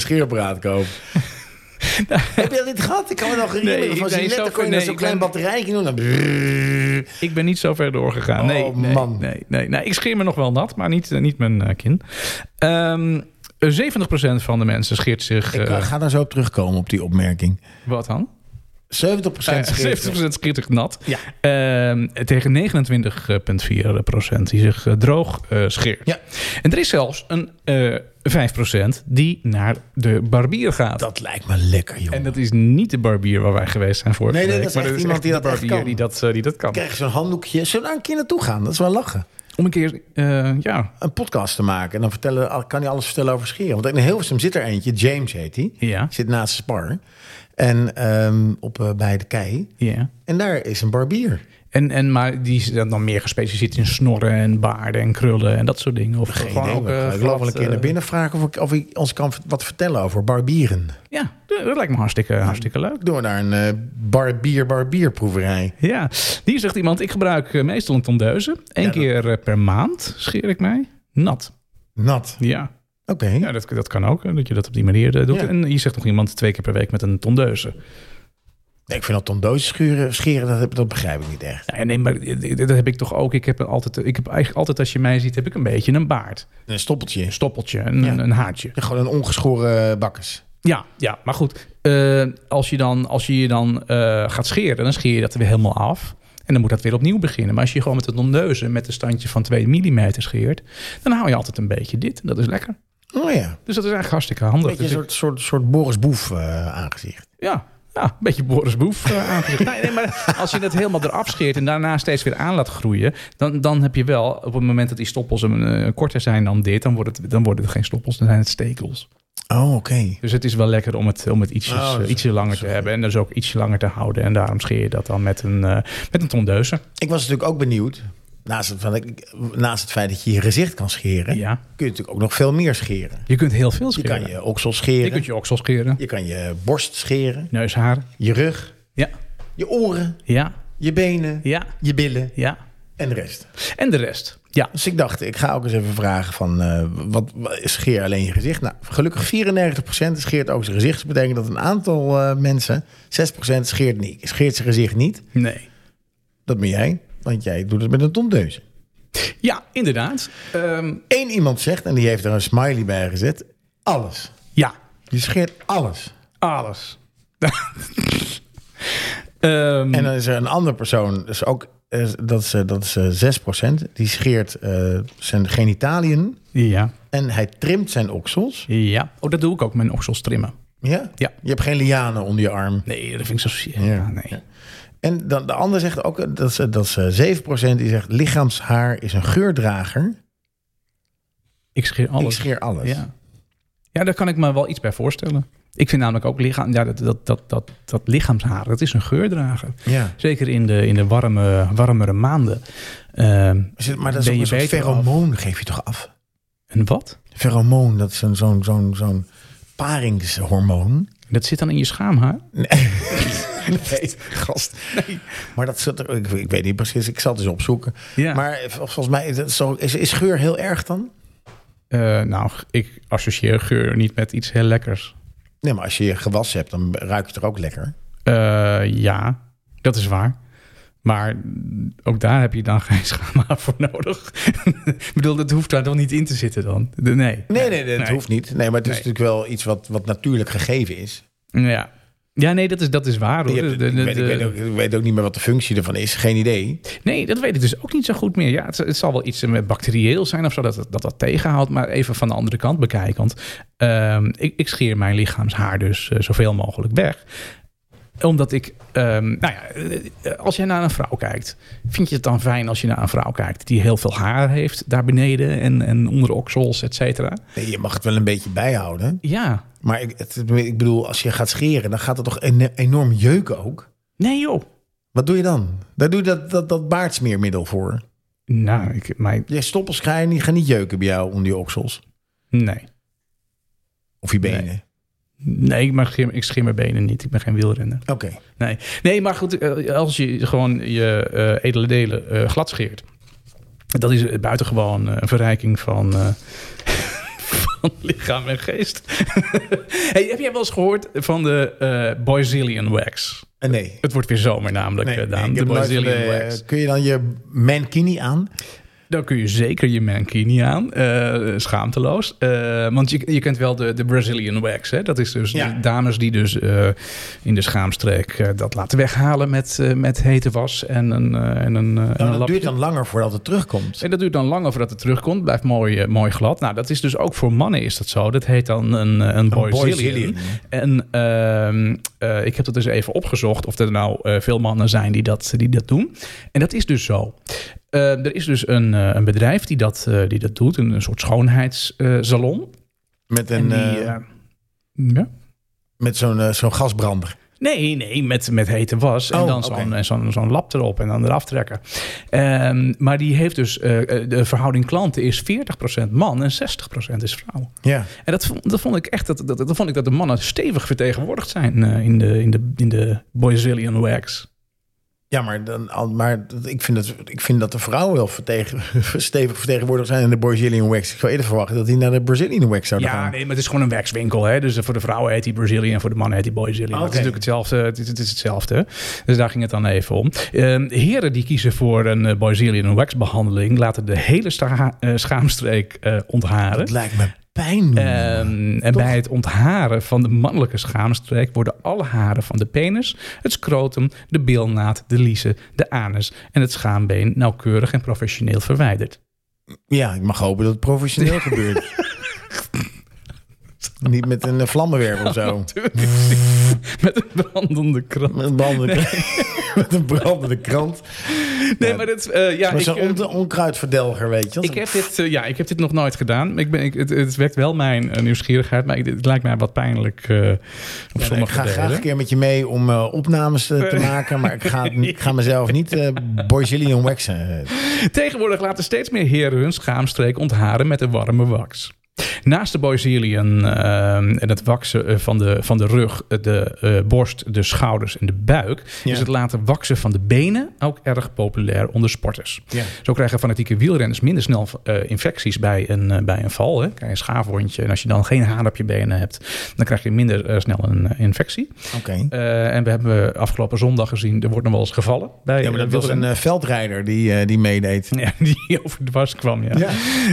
[laughs]
scheerapparaat kopen. Heb je dat niet gehad? Ik kan me nog herinneren.
Nee,
van
ik ben
Gillette
zo
dan kon
ver-
je dan zo'n
nee,
klein
ik ben-
batterijtje doen. Dan brrrr.
Ik ben niet zo ver doorgegaan.
Oh,
nee, nee,
man.
Nee, nee, nee. Ik scheer me nog wel nat, maar niet, eh, niet mijn eh, kin. Ehm, eh, 70% van de mensen scheert zich...
Ik
eh,
eh, ga daar zo op terugkomen, op die opmerking.
wat dan?
70% Eh, schitterend.
70% schitterend nat.
Ja.
Ehm, tegen 29,4% die zich eh, droog eh, scheert.
Ja.
En er is zelfs een eh 5% die naar de barbier gaat.
Dat lijkt me lekker, joh.
En dat is niet de barbier waar wij geweest zijn vorige
Nee, nee,
week.
dat is
maar
echt iemand die
de
dat echt
barbier
kan.
die dat, eh, die dat kan.
krijg je zo'n handdoekje. Zullen we daar een keer naartoe gaan? Dat is wel lachen.
Om een keer, eh, ja.
Een podcast te maken. En dan vertellen, kan hij alles vertellen over scheren. Want in Hilversum zit er eentje. James heet hij.
Ja.
Zit naast de Spar. En ehm, op, eh, bij de kei.
ja.
En daar is een barbier.
En, en, maar die is dan meer gespecialiseerd in snorren en baarden en krullen en dat soort dingen. Of
Geen
gewoon
idee.
ook,
we gaan
eh,
ik geloof wel een
glad,
keer naar
eh,
binnen vragen of, ik, of hij ons kan v- wat vertellen over barbieren.
Ja, dat dat lijkt me hartstikke, hartstikke leuk.
Doen we naar een eh, barbier-barbierproeverij.
Ja, hier zegt iemand, ik gebruik eh, meestal een tondeuze. Eén
dat-
keer eh, per maand scheer ik mij. Nat.
Nat.
Ja,
Oké.
ja dat, dat kan ook, hè, dat je dat op die manier eh, doet.
Ja.
En hier zegt nog iemand twee keer per week met een tondeuze.
Nee, ik vind dat tondoos schuren, scheren, dat, heb- dat begrijp ik niet echt.
Ja, nee, maar eh, dat heb ik toch ook. Ik heb, altijd, eh, ik heb eigenlijk altijd, als je mij ziet, heb ik een beetje een baard.
Een stoppeltje.
Een stoppeltje, een,
Ja.
een haartje.
Gewoon een ongeschoren bakkes.
Ja, ja, maar goed. eh, als je dan, als je, je dan eh, gaat scheren, dan scheer je dat weer helemaal af. En dan moet dat weer opnieuw beginnen. Maar als je gewoon met het tondeuze met een standje van 2 mm scheert, dan hou je altijd een beetje dit. En dat is lekker.
Oh ja.
Dus dat is eigenlijk hartstikke handig.
Beetje een
Dus ik-
soort, soort, soort Boris Boef eh, aangezicht.
ja, ja, een beetje Boris Boef eh, aangezicht. [laughs] nee, nee, maar als je dat helemaal eraf scheert en daarna steeds weer aan laat groeien, dan, dan heb je wel op het moment dat die stoppels een, eh, korter zijn dan dit, dan, wordt het, dan worden het geen stoppels, dan zijn het stekels.
Oh, oké.
Dus het is wel lekker om het, om het ietsjes,
Oh, dat
eh,
is-
ietsje langer te hebben. En dus ook ietsje langer te houden. En daarom scheer je dat dan met een, eh, met een tondeuze.
Ik was natuurlijk ook benieuwd. Naast het, van- ik- naast het feit dat je je gezicht kan scheren,
Ja.
kun je natuurlijk ook nog veel meer scheren.
Je kunt heel veel
Je
scheren.
kan je oksel
Je
scheren.
kunt je oksel scheren.
Je kan je borst scheren.
Neushaar.
Je rug.
Ja.
Je oren.
Ja.
Je benen.
Ja.
Je billen.
Ja.
En de rest.
En de rest. Ja.
Dus ik dacht, ik ga ook eens even vragen van, eh, wat, wat- scheer alleen je gezicht? Nou, gelukkig 94% scheert ook zijn gezicht. Dat betekent dat een aantal eh, mensen, 6% scheert, niet, scheert zijn gezicht niet.
Nee.
Dat ben jij, want jij doet het met een tondeuze.
Ja, inderdaad. Ehm,
Eén iemand zegt, en die heeft er een smiley bij gezet, alles.
ja.
Je scheert alles.
Alles. [laughs] Ehm,
En dan is er een andere persoon, dus ook, eh, dat is, eh, dat is eh, 6%, die scheert eh, zijn genitaliën
ja.
en hij trimt zijn oksels.
Ja. Oh, dat doe ik ook. Mijn oksels trimmen.
Ja?
Ja.
Je hebt geen lianen onder je arm.
Nee, dat vind ik zo... Ja,
Ja.
nee.
En dan, de ander zegt ook, eh, dat is, dat is eh, 7% die zegt lichaamshaar is een geurdrager.
Ik scheer alles.
Ik scheer alles.
Ja. ja, daar kan ik me wel iets bij voorstellen. Ik vind namelijk ook lichaam, ja, dat, dat, dat, dat, dat lichaamshaar, dat is een geurdrager.
Ja.
Zeker in de, in de warme, warmere maanden. Ehm,
Is Dus het- Maar dat is
Ben
ook
je
een soort
beter
pheromoon, geef je toch af?
en wat?
Pheromoon, dat is zo'n zo'n zo'n zo'n paringshormoon.
Dat zit dan in je schaamhaar?
[laughs] Nee, gast. Nee. Maar dat zit er, ik, ik weet niet precies, ik zal het eens opzoeken.
Ja.
Maar eh, vol- volgens mij, is het zo- is, is geur heel erg dan?
Eh, nou, ik associeer geur niet met iets heel lekkers.
Nee, maar als je je gewassen hebt, dan ruikt het er ook lekker.
Eh, ja, dat is waar. Maar ook daar heb je dan [laughs] geen schaamhaar voor nodig. ik bedoel, dat hoeft daar dan niet in te zitten dan. De- Nee.
Nee, nee, nee, dat
Nee.
hoeft niet. Nee, maar het is
Nee.
natuurlijk wel iets wat, wat natuurlijk gegeven is.
Ja. Ja, nee, dat is, dat is waar. Hoor.
Je hebt-
De-
ik,
de-
weet, ik,
de-
weet ook, ik weet ook niet meer wat de functie ervan is. Geen idee.
Nee, dat weet ik dus ook niet zo goed meer. Ja, het, het zal wel iets eh, bacterieel zijn of zo dat het- dat, dat tegenhoudt. Maar even van de andere kant bekijken. Want ehm, ik, ik scheer mijn lichaamshaar dus eh, zoveel mogelijk weg. Omdat ik, ehm, nou ja, eh, als jij naar een vrouw kijkt, vind je het dan fijn als je naar een vrouw kijkt die heel veel haar heeft daar beneden en, en onder de oksels, et cetera?
Nee, je mag het wel een beetje bijhouden.
Ja.
Maar ik, het- ik bedoel, als je gaat scheren, dan gaat het toch en- enorm jeuken ook?
Nee, joh.
Wat doe je dan? Daar doe je dat, dat, dat baardsmeermiddel voor.
Nou, ik, mijn,
Je stoppels krijgen, die gaan niet jeuken bij jou onder je oksels.
nee.
Of je benen.
Nee, ik, mag, geen- ik scheer mijn benen niet. Ik ben geen wielrenner.
Oké.
Nee, nee maar goed, eh, als je gewoon je eh, edele delen eh, glad scheert. Dat is eh, buitengewoon eh, een verrijking van, eh, [laughs] van lichaam en geest. [laughs] hey, heb jij wel eens gehoord van de eh Boyzilian wax?
Eh, nee.
Het wordt weer zomer namelijk,
Nee,
eh, Daan.
nee, ik
de
heb nooit van
Boyzilian
de-
wax.
kun je dan je mankini aan?
Dan kun je zeker je mankini aan. eh, schaamteloos. Eh, want je, je kent wel de, de Brazilian wax. Hè? Dat is dus
Ja.
de dames die dus eh, in de schaamstreek eh, dat laten weghalen met, eh, met hete was en een, eh, en een, eh, en
Nou,
een
dat
lapje.
duurt dan langer voordat het terugkomt.
En dat duurt dan lang voordat het terugkomt. Blijft mooi, eh, mooi glad. Nou, dat is dus ook voor mannen is dat zo. Dat heet dan een, eh, een boyzillion.
boyzillion.
En ehm, eh, ik heb dat dus even opgezocht. Of er nou eh, veel mannen zijn die dat, die dat doen. En dat is dus zo. Eh, er is dus een, eh, een bedrijf die dat, eh, die dat doet. Een, een soort schoonheidssalon.
Met, een,
die,
eh,
eh, ja?
met zo'n eh, zo'n gasbrander.
Nee, nee, met, met hete was. en
Oh,
dan
oké.
zo'n, en zo'n, zo'n lap erop en dan eraf trekken. Ehm, maar die heeft dus, eh, eh, de verhouding klanten is 40% man en 60% is vrouw.
Ja.
En dat, vond- dat vond ik echt, dat, dat, dat vond ik dat de mannen stevig vertegenwoordigd zijn eh, in, de, in, de, in de Brazilian Wax.
Ja, maar, dan, al- maar dat- ik, vind dat, ik vind dat de vrouwen wel vertegen, [laughs] stevig vertegenwoordigd zijn in de Brazilian Wax. Ik zou eerder verwachten dat die naar de Brazilian Wax zouden
Ja,
gaan.
nee, maar het is gewoon een waxwinkel. Hè? Dus eh, voor de vrouwen heet die Brazilian en voor de mannen heet die Brazilian.
Oké.
Het is natuurlijk hetzelfde. Het is, het is hetzelfde. Dus daar ging het dan even om. Ehm, heren die kiezen voor een eh, Brazilian Wax behandeling laten de hele sta- eh, schaamstreek eh, ontharen.
Dat lijkt me pijn. doen.
Ehm, en bij het ontharen van de mannelijke schaamstreek worden alle haren van de penis, het scrotum, de bilnaad, de liezen, de anus en het schaambeen nauwkeurig en professioneel verwijderd. [laughs]
ja, ik mag hopen dat het professioneel gebeurt. Niet met een eh, vlammenwerper of
[laughs]
zo.
Met een brandende krant.
Met een brandende, [laughs] met een brandende krant.
Nee, maar dat, eh, ja,
Maar
ik,
zo'n
eh,
on- onkruidverdelger, weet je. wel.
ik, heb dit, eh, ja, ik heb dit nog nooit gedaan. Ik ben, ik, het, het wekt wel mijn eh, nieuwsgierigheid, maar ik, het lijkt mij wat pijnlijk eh, op
Ja, nee, ik
sommige
ga graag
delen.
een keer met je mee om eh, opnames eh, te maken. Maar ik
[laughs]
ga, ik ga mezelf niet eh Brazilian waxen. Eh,
Tegenwoordig laten steeds meer heren hun schaamstreek ontharen met een warme wax. Naast de boyzilian en het waksen eh, van de, van de rug, eh, de eh, borst, de schouders en de buik...
Ja.
is het laten waksen van de benen ook erg populair onder sporters.
Ja.
Zo krijgen fanatieke wielrenners minder snel eh, infecties bij een, eh, bij een val. Hè. Krijg je een schaafwondje en als je dan geen haar op je benen hebt... dan krijg je minder eh, snel een eh, infectie.
Oké.
Eh, en we hebben afgelopen zondag gezien, er wordt nog wel eens gevallen. Bij,
Ja, maar
eh,
dat was een
wielrenners.
eh, veldrijder die, eh, die meedeed.
Ja, die over dwars kwam, [laughs] ja.
Ja.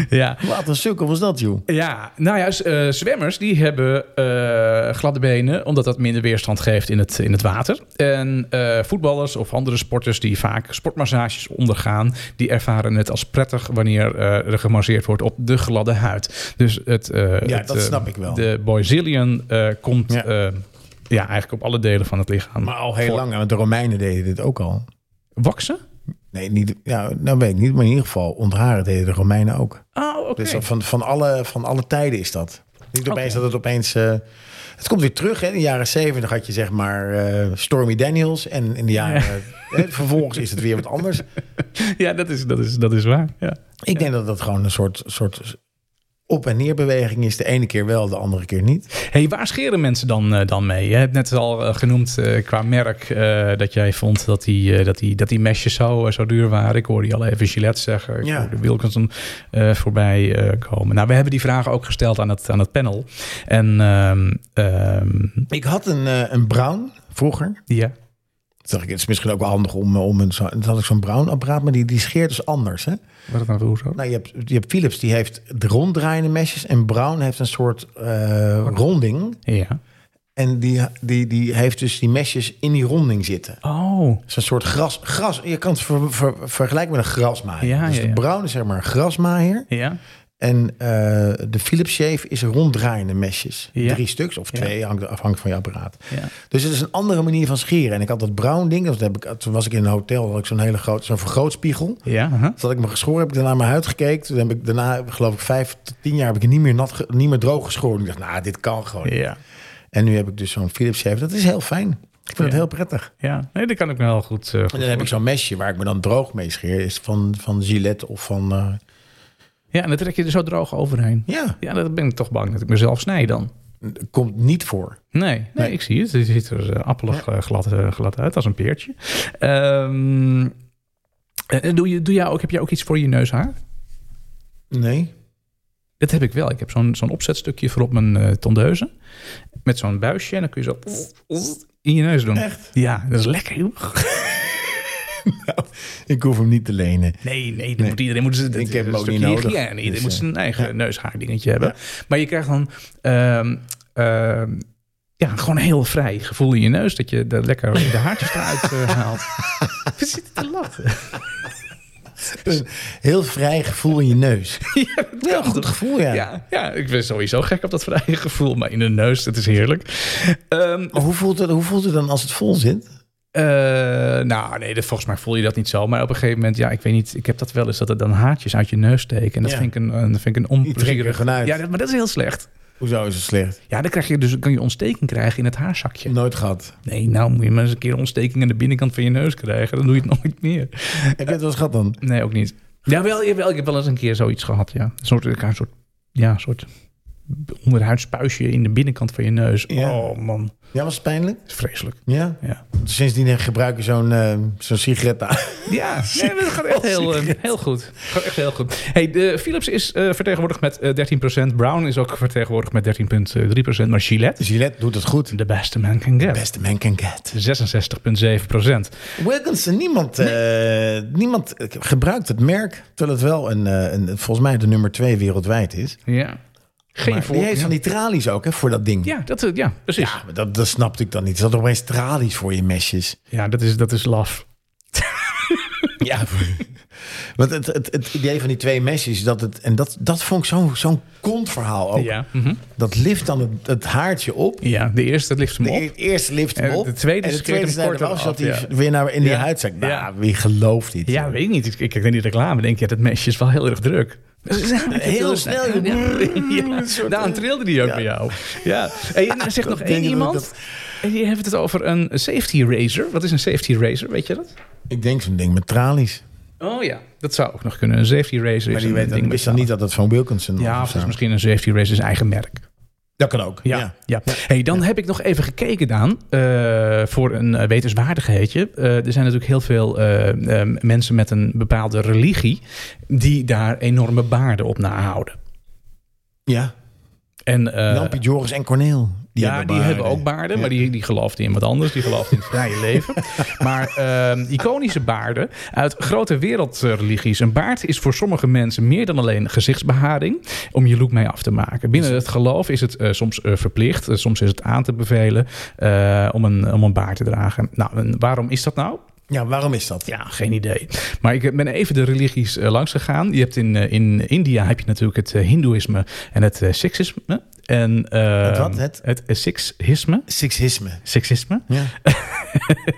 ja.
Wat een sukkel was dat, joh.
Ja, nou ja, z- eh, zwemmers die hebben eh, gladde benen, omdat dat minder weerstand geeft in het, in het water. En eh, voetballers of andere sporters die vaak sportmassages ondergaan, die ervaren het als prettig wanneer eh, er gemasseerd wordt op de gladde huid. Dus het, eh,
Ja,
het,
dat
eh,
snap ik wel.
De boyzillion eh, komt
Ja.
ja. ja, eigenlijk op alle delen van het lichaam.
Maar al heel
Voor-
lang, want de Romeinen deden dit ook al.
Waksen?
Nee, niet, ja, nou weet ik niet, maar in ieder geval ontharen deden de Romeinen ook.
Oh, oké.
Dus dat van, van, alle, van alle tijden is dat. Niet opeens dat het opeens... eh, het komt weer terug, hè. In de jaren zeventig had je zeg maar eh, Stormy Daniels. En in de jaren... eh, vervolgens is het weer wat anders.
Ja, dat is, dat, is, dat is waar. Ja.
Ik denk dat dat gewoon een soort, soort op- en neerbeweging is. De ene keer wel, de andere keer niet.
Hey, waar scheren mensen dan, eh, dan mee? Je hebt net al eh, genoemd eh, qua merk eh, dat jij vond dat die, eh, dat die, dat die mesjes zo, eh, zo duur waren. Ik hoorde je al even Gillette zeggen. Ik
Ja.
hoorde Wilkinson eh, voorbij eh, komen. Nou, we hebben die vragen ook gesteld aan het, aan het panel. En ehm, ehm,
Ik had een, eh, een brown vroeger.
ja.
Toen dacht ik, het is misschien ook wel handig om, eh, om een... zo- Toen had ik zo'n brown apparaat, maar die, die scheert dus anders, hè.
Wat het nou voor hoezo?
Nou, je hebt, je hebt Philips, die heeft ronddraaiende mesjes. En brown heeft een soort eh, ronding.
Ja.
En die, die, die heeft dus die mesjes in die ronding zitten.
Oh,
Het is een soort gras. gras je kan het ver- ver- vergelijken met een grasmaaier.
Ja,
dus
ja,
de
ja.
bruine is zeg maar een grasmaaier.
ja.
En eh, de Philips Shave is ronddraaiende mesjes.
Ja.
Drie stuks of twee, hangt afhankelijk van je apparaat.
Ja.
Dus het is een andere manier van scheren. En ik had dat brown ding. Dat heb ik, toen was ik in een hotel, had ik zo'n hele grote, zo'n vergrootspiegel.
Ja, aha.
Toen had ik me geschoren, heb ik daarna mijn huid gekeken. Toen heb ik daarna, geloof ik, vijf tot tien jaar heb ik niet meer, nat, ge- niet meer droog geschoren. Ik dacht, nou, dit kan gewoon. niet.
ja.
En nu heb ik dus zo'n Philips Shave. Dat is heel fijn. Ik vind het heel prettig.
Ja, nee, dat kan ik me wel goed... eh, goed
En dan heb ik zo'n mesje waar ik me dan droog mee scheer. Is van, van Gillette of van... eh,
ja, en dan trek je er zo droog overheen.
ja,
Ja, dat ben ik toch bang dat ik mezelf snij dan.
komt niet voor.
Nee, nee, ik zie het. Het ziet er eh, appelig eh, glad, eh, glad uit als een peertje. Ehm, en- en doe je, doe jij ook, heb jij ook iets voor je neushaar?
Nee.
Dat heb ik wel. Ik heb zo'n zo'n opzetstukje voor op mijn eh, tondeuze. Met zo'n buisje. En dan kun je zo in je neus doen.
Echt?
Ja, dat is lekker. joh.
Nou, [laughs] ik hoef hem niet te lenen.
Nee, nee,
Nee.
Moet iedereen moet zijn
Ik
dat-
heb hem
dat
ook
stukje
niet nodig.
hygiëne. Iedereen
Dus,
moet
eh,
zijn eigen neushaardingetje hebben. Maar je krijgt dan ehm, ehm, ja, gewoon een heel vrij gevoel in je neus. Dat je er lekker de haartjes eruit eh,
[laughs]
haalt. We zitten te lachen.
Een Dus heel vrij gevoel in je [laughs] neus.
Ja, dat
Heel
kan
goed
toch?
gevoel, ja.
Ja, ja, ik ben sowieso gek op dat vrije gevoel. Maar in de neus, dat is heerlijk. Ehm,
Maar hoe voelt, het, hoe voelt het dan als het vol zit?
Eh, nou, nee, dat- volgens mij voel je dat niet zo. Maar op een gegeven moment, ja, ik weet niet. Ik heb dat wel eens dat er dan haartjes uit je neus steken. En dat
Ja.
vind ik een, een, vind ik een
Die trekken er
onplezierig.
gewoon uit.
Ja, dat- maar dat is heel slecht.
Hoezo is het slecht?
Ja, dan krijg je dus kan je ontsteking krijgen in het haarzakje.
Nooit gehad.
Nee, nou moet je maar eens een keer ontsteking aan de binnenkant van je neus krijgen. Dan doe je het [laughs] nooit meer.
[laughs] Heb je het wel eens gehad dan?
Nee, ook niet. Ja, wel, jawel, ik heb wel eens een keer zoiets gehad. Ja, een soort, een soort, ja, een soort onderhuidspuisje in de binnenkant van je neus.
Ja.
Oh man,
Ja, was het pijnlijk?
dat is vreselijk.
Ja?
Ja.
Sindsdien gebruik je zo'n eh, zo'n sigaret [laughs] aan.
Ja, nee, maar dat gaat echt heel, eh, heel goed. Gaat echt heel goed. Hey, de Philips is eh, vertegenwoordigd met eh 13%. Brown is ook vertegenwoordigd met 13,3%. Maar Gillette,
Gillette doet het goed.
the best a man can get.
Beste man can get.
66,7%.
Wilkinson, niemand, eh, niemand gebruikt het merk. Terwijl het wel een, eh, een, volgens mij de nummer twee wereldwijd is.
Ja. Geen
Maar die heeft
voor.
van die tralies ook hè, voor dat ding.
Ja, dat, eh, ja, precies.
Ja, maar dat, dat snapte ik dan niet. Er zat opeens tralies voor je mesjes.
Ja, dat is, dat is laf.
Ja. [laughs] Want het, het, het idee van die twee mesjes, dat het, en dat, dat vond ik zo'n zo'n kontverhaal ook.
Ja. mhm.
Dat lift dan het, het haartje op.
ja, de eerste, dat lift hem
De
op.
e- eerste lift hem
En
op.
de tweede
en de
schiet
tweede
hem
snijdt
korter
hem af, zodat
af,
hij
ja.
weer naar in die
Ja.
huidzak. Nou,
Ja.
wie gelooft dit?
Ja,
joh?
weet ik niet. Ik ik kijk naar die reclame denk je, dat mesje is wel heel erg druk. [laughs]
Heel snel, joh.
Ja, daarom trilde die ook bij jou. Ja. Hey,
[laughs]
en er zegt nog
denk
één
ik
iemand.
dat-
En je hebt het over een safety razor. Wat is een safety razor? Weet je dat?
Ik denk zo'n ding met tralies.
Oh ja, dat zou ook nog kunnen. Een safety razor
Maar
is
die
een
weet
ding
dan,
met
wist dan niet dat het van Wilkinson was.
Ja,
of
of het is
zo.
misschien een safety razor zijn eigen merk.
Dat kan ook.
Ja, ja. Hey, dan heb ik nog even gekeken, Daan, eh, voor een eh, wetenswaardigheidje. Eh, er zijn natuurlijk heel veel eh, eh, mensen met een bepaalde religie die daar enorme baarden op nahouden.
ja.
En, eh,
Lampie Joris en Corneel.
ja, die hebben ook baarden, maar die, die geloofden in wat anders. Die geloofden in het [laughs] vrije leven. Maar ehm, iconische baarden uit grote wereldreligies. Een baard is voor sommige mensen meer dan alleen gezichtsbeharing om je look mee af te maken. Binnen het geloof is het eh, soms eh, verplicht, eh, soms is het aan te bevelen eh, om, een, om een baard te dragen. Nou, en waarom is dat nou?
Ja, waarom is dat?
Ja, geen idee. Maar ik ben even de religies eh, langs gegaan. Je hebt in, eh, in India heb je natuurlijk het eh, Hindoeïsme en het eh, Sikhisme. En, eh,
Het wat? Het?
Het eh, Sikhisme.
Sexisme.
Seksisme.
Ja.
[laughs]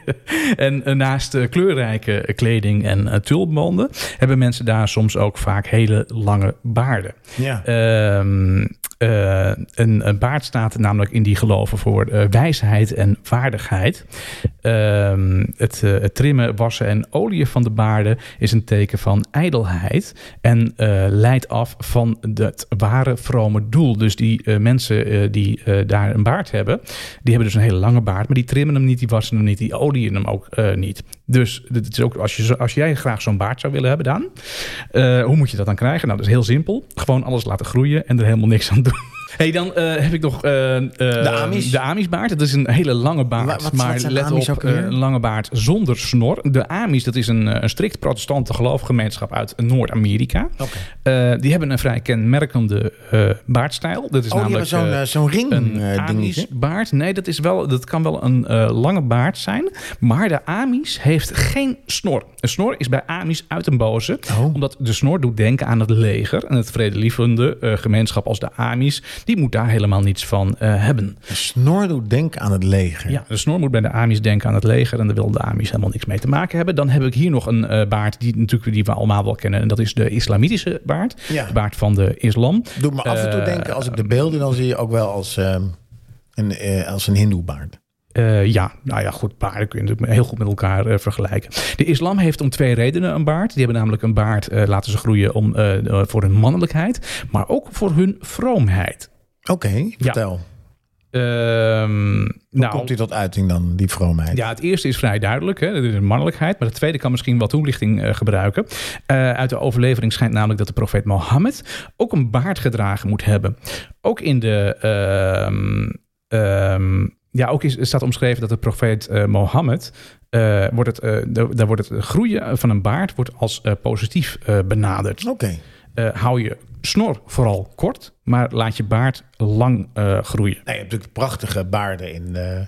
en eh, naast eh, kleurrijke eh, kleding en eh, tulbanden hebben mensen daar soms ook vaak hele lange baarden.
ja. Oh,
Ehm, eh, een, een baard staat namelijk in die geloven voor eh, wijsheid en waardigheid. Ehm, het, eh, het trimmen, wassen en oliën van de baarden is een teken van ijdelheid en eh, leidt af van het ware vrome doel. Dus die eh, mensen eh, die eh, daar een baard hebben, die hebben dus een hele lange baard, maar die trimmen hem niet, die wassen hem niet, die olieën hem ook eh, niet. Dus dit is ook, als, je, zo- als jij graag zo'n baard zou willen hebben, dan, eh, hoe moet je dat dan krijgen? Nou, dat is heel simpel. Gewoon alles laten groeien en er helemaal niks aan doen. [laughs] hey, dan eh, heb ik nog eh, eh,
Amish.
de Amish-baard. Dat is een hele lange baard.
Wa- wat-
maar
wat zijn
let
Amish
op,
ook alweer?
eh, een lange baard zonder snor. De Amish, dat is een, eh, een strikt protestante geloofgemeenschap uit Noord-Amerika.
Oké.
Eh, die hebben een vrij kenmerkende eh, baardstijl. Dat is
Oh, die
namelijk
hebben zo'n
eh,
eh, zo'n ring
een
eh, dingetje.
Amish-baard. Nee, dat, is wel, dat kan wel een eh, lange baard zijn. Maar de Amish heeft geen snor. Een snor is bij Amish uit een boze.
Oh.
Omdat de snor doet denken aan het leger. En het vredelievende eh, gemeenschap als de Amish... die moet daar helemaal niets van eh, hebben.
Een snor doet denken aan het leger.
Ja, de snor moet bij de Amish denken aan het leger. En daar wil de Amish helemaal niks mee te maken hebben. Dan heb ik hier nog een eh, baard die, natuurlijk, die we allemaal wel kennen. En dat is de islamitische baard.
Ja.
De baard van de islam.
Doe me af en toe
Eh,
denken, als ik de beelden, dan zie je ook wel als ehm, een, eh, als een hindoebaard.
Eh, ja, nou ja, goed, baarden kun je natuurlijk heel goed met elkaar eh, vergelijken. De islam heeft om twee redenen een baard. Die hebben namelijk een baard, eh, laten ze groeien om, eh, eh, voor hun mannelijkheid, maar ook voor hun vroomheid.
Oké, vertel.
Ehm, nou,
Komt die tot uiting dan, die vroomheid?
ja, het eerste is vrij duidelijk. Hè? Dat is een mannelijkheid. Maar het tweede kan misschien wat toelichting eh, gebruiken. Eh, uit de overlevering schijnt namelijk dat de profeet Mohammed ook een baard gedragen moet hebben. Ook in de. ehm, ehm, ja, ook is, staat omschreven dat de profeet eh, Mohammed. eh, wordt het, eh, da- daar wordt het groeien van een baard wordt als eh, positief eh, benaderd.
Oké.
Eh, hou je snor vooral kort, maar laat je baard lang eh, groeien.
Nee, je hebt natuurlijk prachtige baarden in, eh,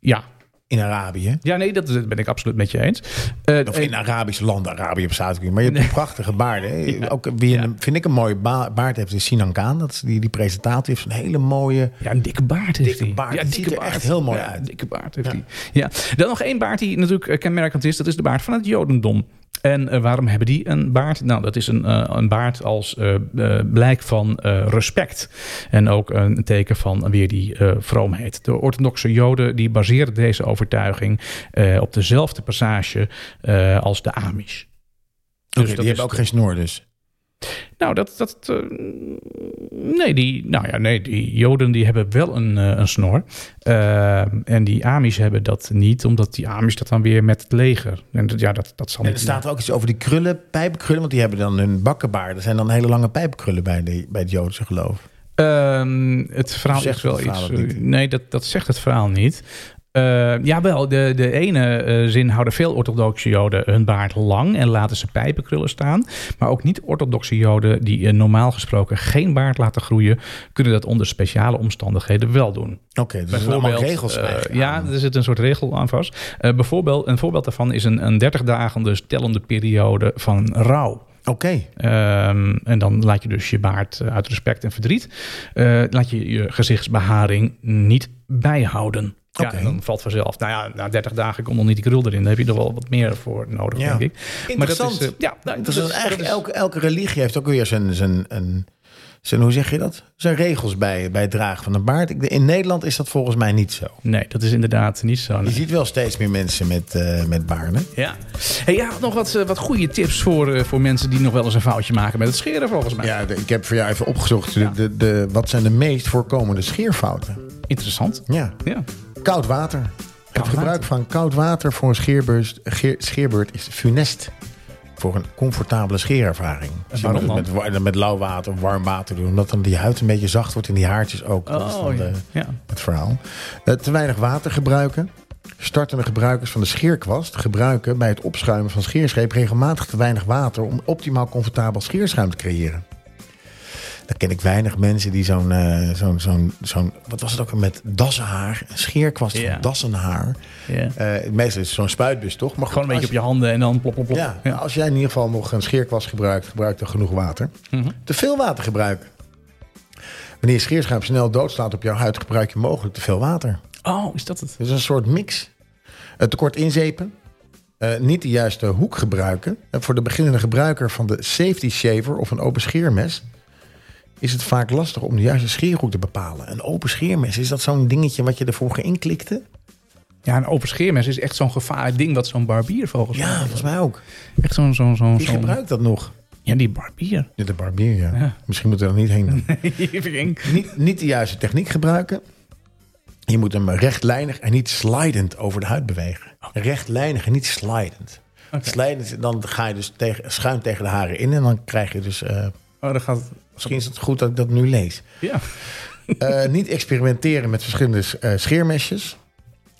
Ja.
in Arabië.
ja, nee, dat dat ben ik absoluut met je eens. Eh,
Of
eh,
in Arabische landen, Arabië bestaat ook niet. Maar je hebt prachtige baarden.
[laughs]
hè. Ook wie een, vind ik een mooie ba- baard heeft, is Sinan Kaan. Dat is die, die presentatie heeft zo'n hele mooie...
Ja, een dikke baard heeft
Dikke
hij.
baard.
Ja,
Het ziet er echt heel mooi
Ja,
uit.
een dikke baard heeft hij. Ja. Dan nog één baard die natuurlijk eh, kenmerkend is. Dat is de baard van het Jodendom. En eh, waarom hebben die een baard? Nou, dat is een, eh, een baard als eh, eh, blijk van eh, respect. En ook een teken van weer die eh, vroomheid. De orthodoxe Joden die baseren deze overtuiging eh, op dezelfde passage eh, als de Amish.
Dus
dat
die
is
hebben ook geen snor dus.
nou, dat. dat eh, nee, die, nou ja, nee, die Joden die hebben wel een, eh, een snor. Eh, en die Amish hebben dat niet, omdat die Amish dat dan weer met het leger. En dat, ja, dat, dat zal
En
niet-
er staat ook iets over die krullen, pijpkrullen. Want die hebben dan hun bakkenbaarden. Er zijn dan hele lange pijpkrullen bij, de, bij het Joodse geloof.
Ehm, het verhaal
Zegt
zegt wel
het verhaal
iets. eh,
ook niet?
Nee, dat, dat zegt het verhaal niet. Eh, jawel, de, de ene eh, zin houden veel orthodoxe joden hun baard lang en laten ze pijpenkrullen staan. Maar ook niet-orthodoxe joden die eh, normaal gesproken geen baard laten groeien, kunnen dat onder speciale omstandigheden wel doen.
Oké, dus er zijn allemaal regels
eh,
eigenlijk
ja,
aan.
er zit een soort regel aan vast. Eh, bijvoorbeeld, een voorbeeld daarvan is een, een 30 dagen, dus tellende periode van rouw.
Oké,
Ehm, en dan laat je dus je baard eh, uit respect en verdriet. eh, laat je je gezichtsbeharing niet bijhouden. Ja,
Oké.
en dan valt vanzelf. Nou ja, na 30 dagen komt nog niet die krul erin. Daar heb je er wel wat meer voor nodig,
Ja.
denk ik.
Interessant.
eh, ja, nou,
Dus
dat
dan
is-
eigenlijk
dat is-
elke, elke religie heeft ook weer zijn, zijn, een, zijn, hoe zeg je dat? Zijn regels bij, bij het dragen van een baard. Ik, in Nederland is dat volgens mij niet zo.
Nee, dat is inderdaad niet zo.
Je
nee.
ziet wel steeds meer mensen met, eh, met baarden.
Ja. Hey, jij had nog wat, eh, wat goede tips voor, eh, voor mensen die nog wel eens een foutje maken met het scheren, volgens mij.
Ja, de- ik heb voor jou even opgezocht. De, de, de- wat zijn de meest voorkomende scheerfouten?
Interessant.
Ja,
Ja.
koud water. het
Koud
gebruik
water.
van koud water voor een scheerbeurt, geer- scheerbeurt is funest. Voor een comfortabele scheerervaring. Dus je
waarom
moet het Met, wa- met lauw water, warm water doen. Omdat dan die huid een beetje zacht wordt en die haartjes ook. Dat is
Oh,
dan
ja.
de-
ja.
het verhaal. Eh, te weinig water gebruiken. Startende gebruikers van de scheerkwast gebruiken bij het opschuimen van scheerscheep regelmatig te weinig water om optimaal comfortabel scheerschuim te creëren. Dan ken ik weinig mensen die zo'n, eh, zo'n, zo'n, zo'n, wat was het ook, weer met dassenhaar, een scheerkwast
Ja.
van dassenhaar.
Ja.
Eh, meestal is het zo'n spuitbus toch? Maar
Gewoon een beetje op je handen en dan plop, plop, plop.
ja, als jij in ieder geval nog een scheerkwast gebruikt, gebruik dan genoeg water.
Mhm.
Te veel water gebruiken. Wanneer je scheerschuim snel doodslaat op jouw huid, gebruik je mogelijk te veel water.
Oh, is dat het?
Dus een soort mix. Het tekort inzepen. eh, niet de juiste hoek gebruiken. En voor de beginnende gebruiker van de safety shaver of een open scheermes... is het vaak lastig om de juiste scheerhoek te bepalen. Een open scheermes, is dat zo'n dingetje wat je er vroeger in klikte?
Ja, een open scheermes is echt zo'n gevaarlijk ding wat zo'n barbier volgens mij.
Ja, volgens mij ook.
Echt zo'n zo'n zo'n.
Wie
zo'n-
gebruikt dat nog?
Ja, die [laughs] barbier.
Ja, de barbier, ja.
Ja.
Misschien moeten we er niet heen doen.
Oké.
niet, niet de juiste techniek gebruiken. Je moet hem rechtlijnig en niet slidend over de huid bewegen. Rechtlijnig en niet slidend. Slidend, dan ga je dus tegen, schuin tegen de haren in. En dan krijg je dus... eh,
Oh, dan gaat het.
misschien is het goed dat ik dat nu lees.
Ja.
Eh, niet experimenteren met verschillende eh, scheermesjes.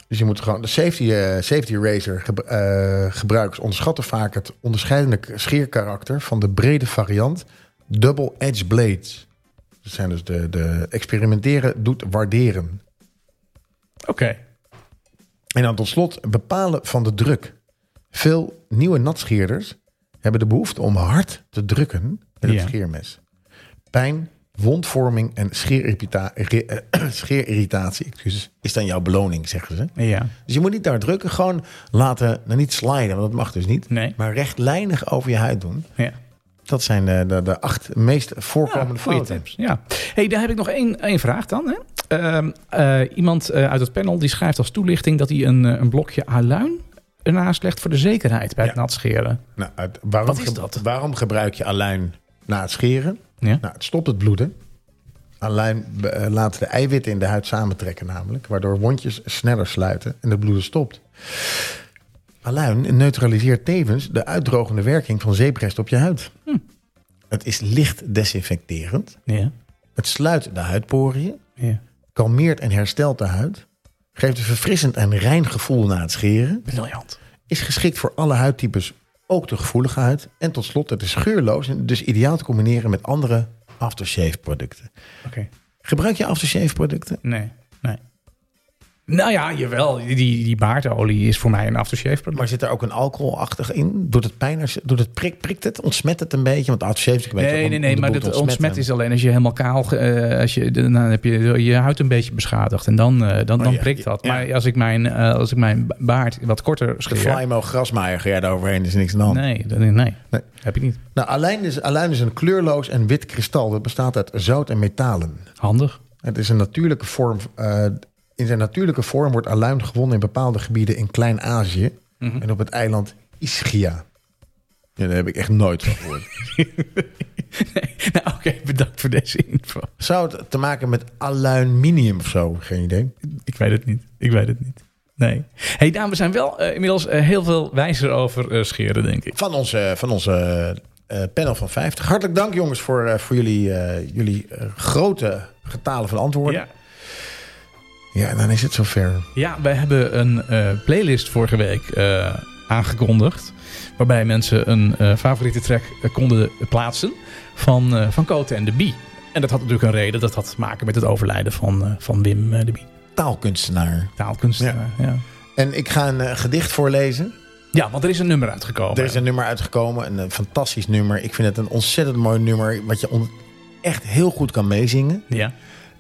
Dus je moet gewoon... De safety, eh, safety razor gebru- eh, gebruikers onderschatten vaak... het onderscheidende k- scheerkarakter van de brede variant... Double Edge Blades. Dat zijn dus de, de experimenteren doet waarderen.
Oké.
En dan tot slot bepalen van de druk. Veel nieuwe natscheerders hebben de behoefte om hard te drukken met het
Ja.
scheermes. Pijn, wondvorming en scheerirrita- irri- eh, [clears throat] scheerirritatie excuses, is dan jouw beloning, zeggen ze.
Ja.
Dus je moet niet daar drukken, gewoon laten, nou niet sliden, want dat mag dus niet.
Nee.
Maar rechtlijnig over je huid doen.
Ja.
Dat zijn de, de, de acht meest
Ja,
voorkomende
goede
fouten.
tips. Ja. Hey, daar heb ik nog één, één vraag dan. Hè? Ehm, eh, iemand eh, uit het panel die schrijft als toelichting dat hij een, eh, een blokje aluin ernaast legt voor de zekerheid bij het
Ja.
nat scheren.
Nou, het- waarom,
Wat is
ge-
dat?
waarom gebruik je aluin na het scheren?
Ja.
Nou, het stopt het bloeden. Aluin be- eh, laat de eiwitten in de huid samentrekken namelijk, waardoor wondjes sneller sluiten en het bloeden stopt. Aluin neutraliseert tevens de uitdrogende werking van zeeprest op je huid. Het is licht desinfecterend.
Ja.
Het sluit de huidporiën.
Ja.
kalmeert en herstelt de huid, geeft een verfrissend en rein gevoel na het scheren,
Briljant.
is geschikt voor alle huidtypes, ook de gevoelige huid. En tot slot, het is geurloos en dus ideaal te combineren met andere aftershave producten.
Oké.
Gebruik je aftershave producten?
Nee, nee. Nou ja, jawel. Die, die baardolie is voor mij een aftershave product.
Maar zit er ook een alcoholachtig in? Doet het pijn? als- Doet het prik, prikt het? Ontsmet het een beetje? Want aftershave is een beetje
Nee,
om-
nee,
om
nee,
de
maar
boel te
dat
ontsmetten.
ontsmet is alleen als je helemaal kaal... ge- eh, als je, dan heb je je huid een beetje beschadigd en dan, eh, dan,
Oh,
dan
ja,
prikt dat.
ja.
Maar als ik, mijn, eh, als ik mijn baard wat korter
De
scheer...
Flymo grasmaaier ga jij daar overheen, is niks aan de hand.
Nee, dat- nee, nee,
Nee.
heb ik niet.
Nou, alijn is, alijn is een kleurloos en wit kristal. Dat bestaat uit zout en metalen. [laughs]
Handig.
Het is een natuurlijke vorm. eh, in zijn natuurlijke vorm wordt aluin gewonnen in bepaalde gebieden in Klein-Azië
Mhm.
en op het eiland Ischia. Ja, daar heb ik echt nooit van gehoord. [laughs]
Nee, nou, oké, bedankt voor deze info.
Zou het te maken met aluminium of zo? Geen idee.
Ik weet het niet. Ik weet het niet. Nee. hey, nou, we zijn wel eh, inmiddels eh, heel veel wijzer over eh, scheren, denk ik.
Van onze, van onze eh, panel van 50. Hartelijk dank jongens voor, eh, voor jullie, eh, jullie eh, grote getalen van antwoorden.
Ja,
Ja. en dan is het zover.
ja we hebben een eh, playlist vorige week eh, aangekondigd. Waarbij mensen een eh, favoriete track eh, konden plaatsen van, eh van Cote en de Bie. En dat had natuurlijk een reden. Dat had te maken met het overlijden van, eh, van Wim eh, de Bie.
Taalkunstenaar.
Taalkunstenaar. Ja. Ja.
En ik ga een eh, gedicht voorlezen.
want er is een nummer uitgekomen.
Er is een nummer uitgekomen, een, eh, fantastisch nummer. Ik vind het een ontzettend mooi nummer, wat je on- echt heel goed kan meezingen.
Ja.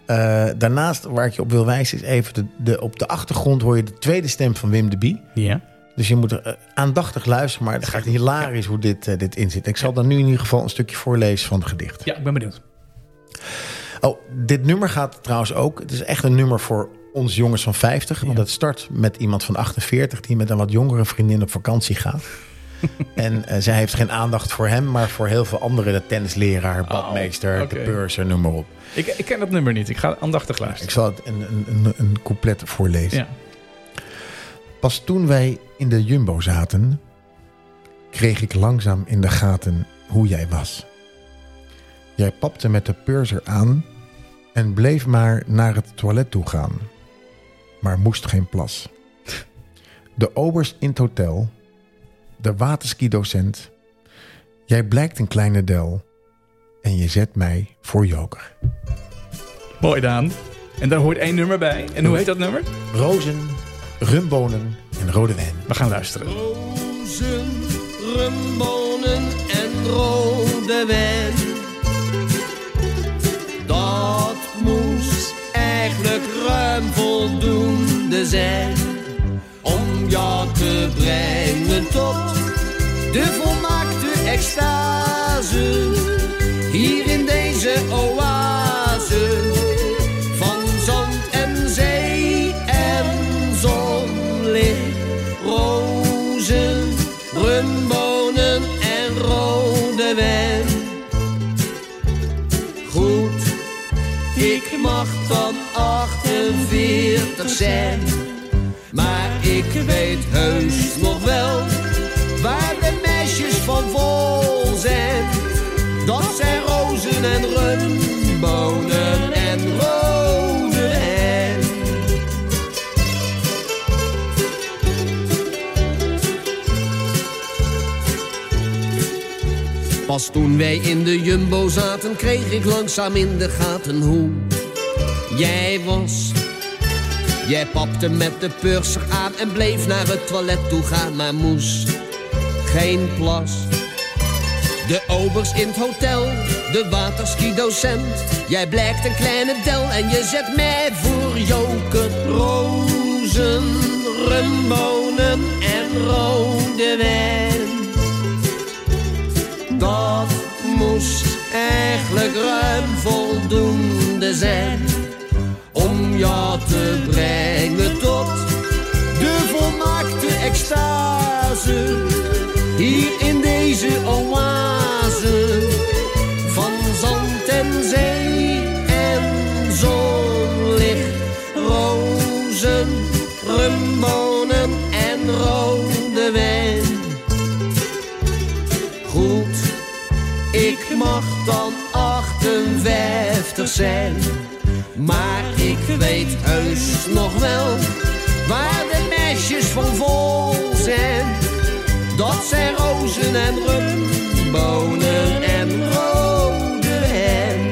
Eh, daarnaast, waar ik je op wil wijzen, is even de, de, op de achtergrond hoor je de tweede stem van Wim de Bie.
ja.
Dus je moet er, eh, aandachtig luisteren, maar het gaat hilarisch hoe dit, eh, dit in zit. Ik zal dan nu in ieder geval een stukje voorlezen van het gedicht.
Ja, ik ben benieuwd.
Oh, dit nummer gaat trouwens ook. Het is echt een nummer voor ons jongens van 50. Want het start met iemand van 48 die met een wat jongere vriendin op vakantie gaat. en eh, zij heeft geen aandacht voor hem, maar voor heel veel anderen. De tennisleraar, badmeester,
oké.
de purser, noem maar op.
Ik, ik ken dat nummer niet. Ik ga aandachtig
Ik
luisteren.
zal het een, een, een, een couplet voorlezen.
Ja.
Pas toen wij in de jumbo zaten, kreeg ik langzaam in de gaten hoe jij was. Jij papte met de purser aan en bleef maar naar het toilet toe gaan, maar moest geen plas. De oberst in het hotel, de waterski-docent, jij blijkt een kleine del en je zet mij voor joker.
Mooi Daan. En daar hoort één nummer bij. En hoe heet dat nummer?
Rozen, rumbonen en rode wijn.
We gaan luisteren.
Rozen, rumbonen en rode wijn. Dat moest eigenlijk ruim voldoende zijn om jou te brengen tot de volmaakte extase. Hier in deze oase van zand en zee en zonlicht, rozen, rumbonen en rode wijn. Goed, ik mag dan 48 zijn, maar ik weet heus nog wel waar de meisjes van vol zijn. Dat zijn rozen en rumbonen en rode wijn. Pas toen wij in de jumbo zaten, kreeg ik langzaam in de gaten hoe jij was. Jij papte met de purser aan en bleef naar het toilet toe gaan, maar moest geen plas. De obers in het hotel, de waterski-docent. Jij blijkt een kleine del en je zet mij voor joker. Rozen, rumbonen en rode wijn. Dat moest eigenlijk ruim voldoende zijn om jou te brengen tot de volmaakte extase. Hier in deze oase van zand en zee en zonlicht, rozen, rumbonen en rode wijn. Goed, ik mag dan 58 zijn. Maar ik Je weet heus nog wel waar de meisjes van vol zijn. Dat zijn rozen en rum, bonen en rode hen.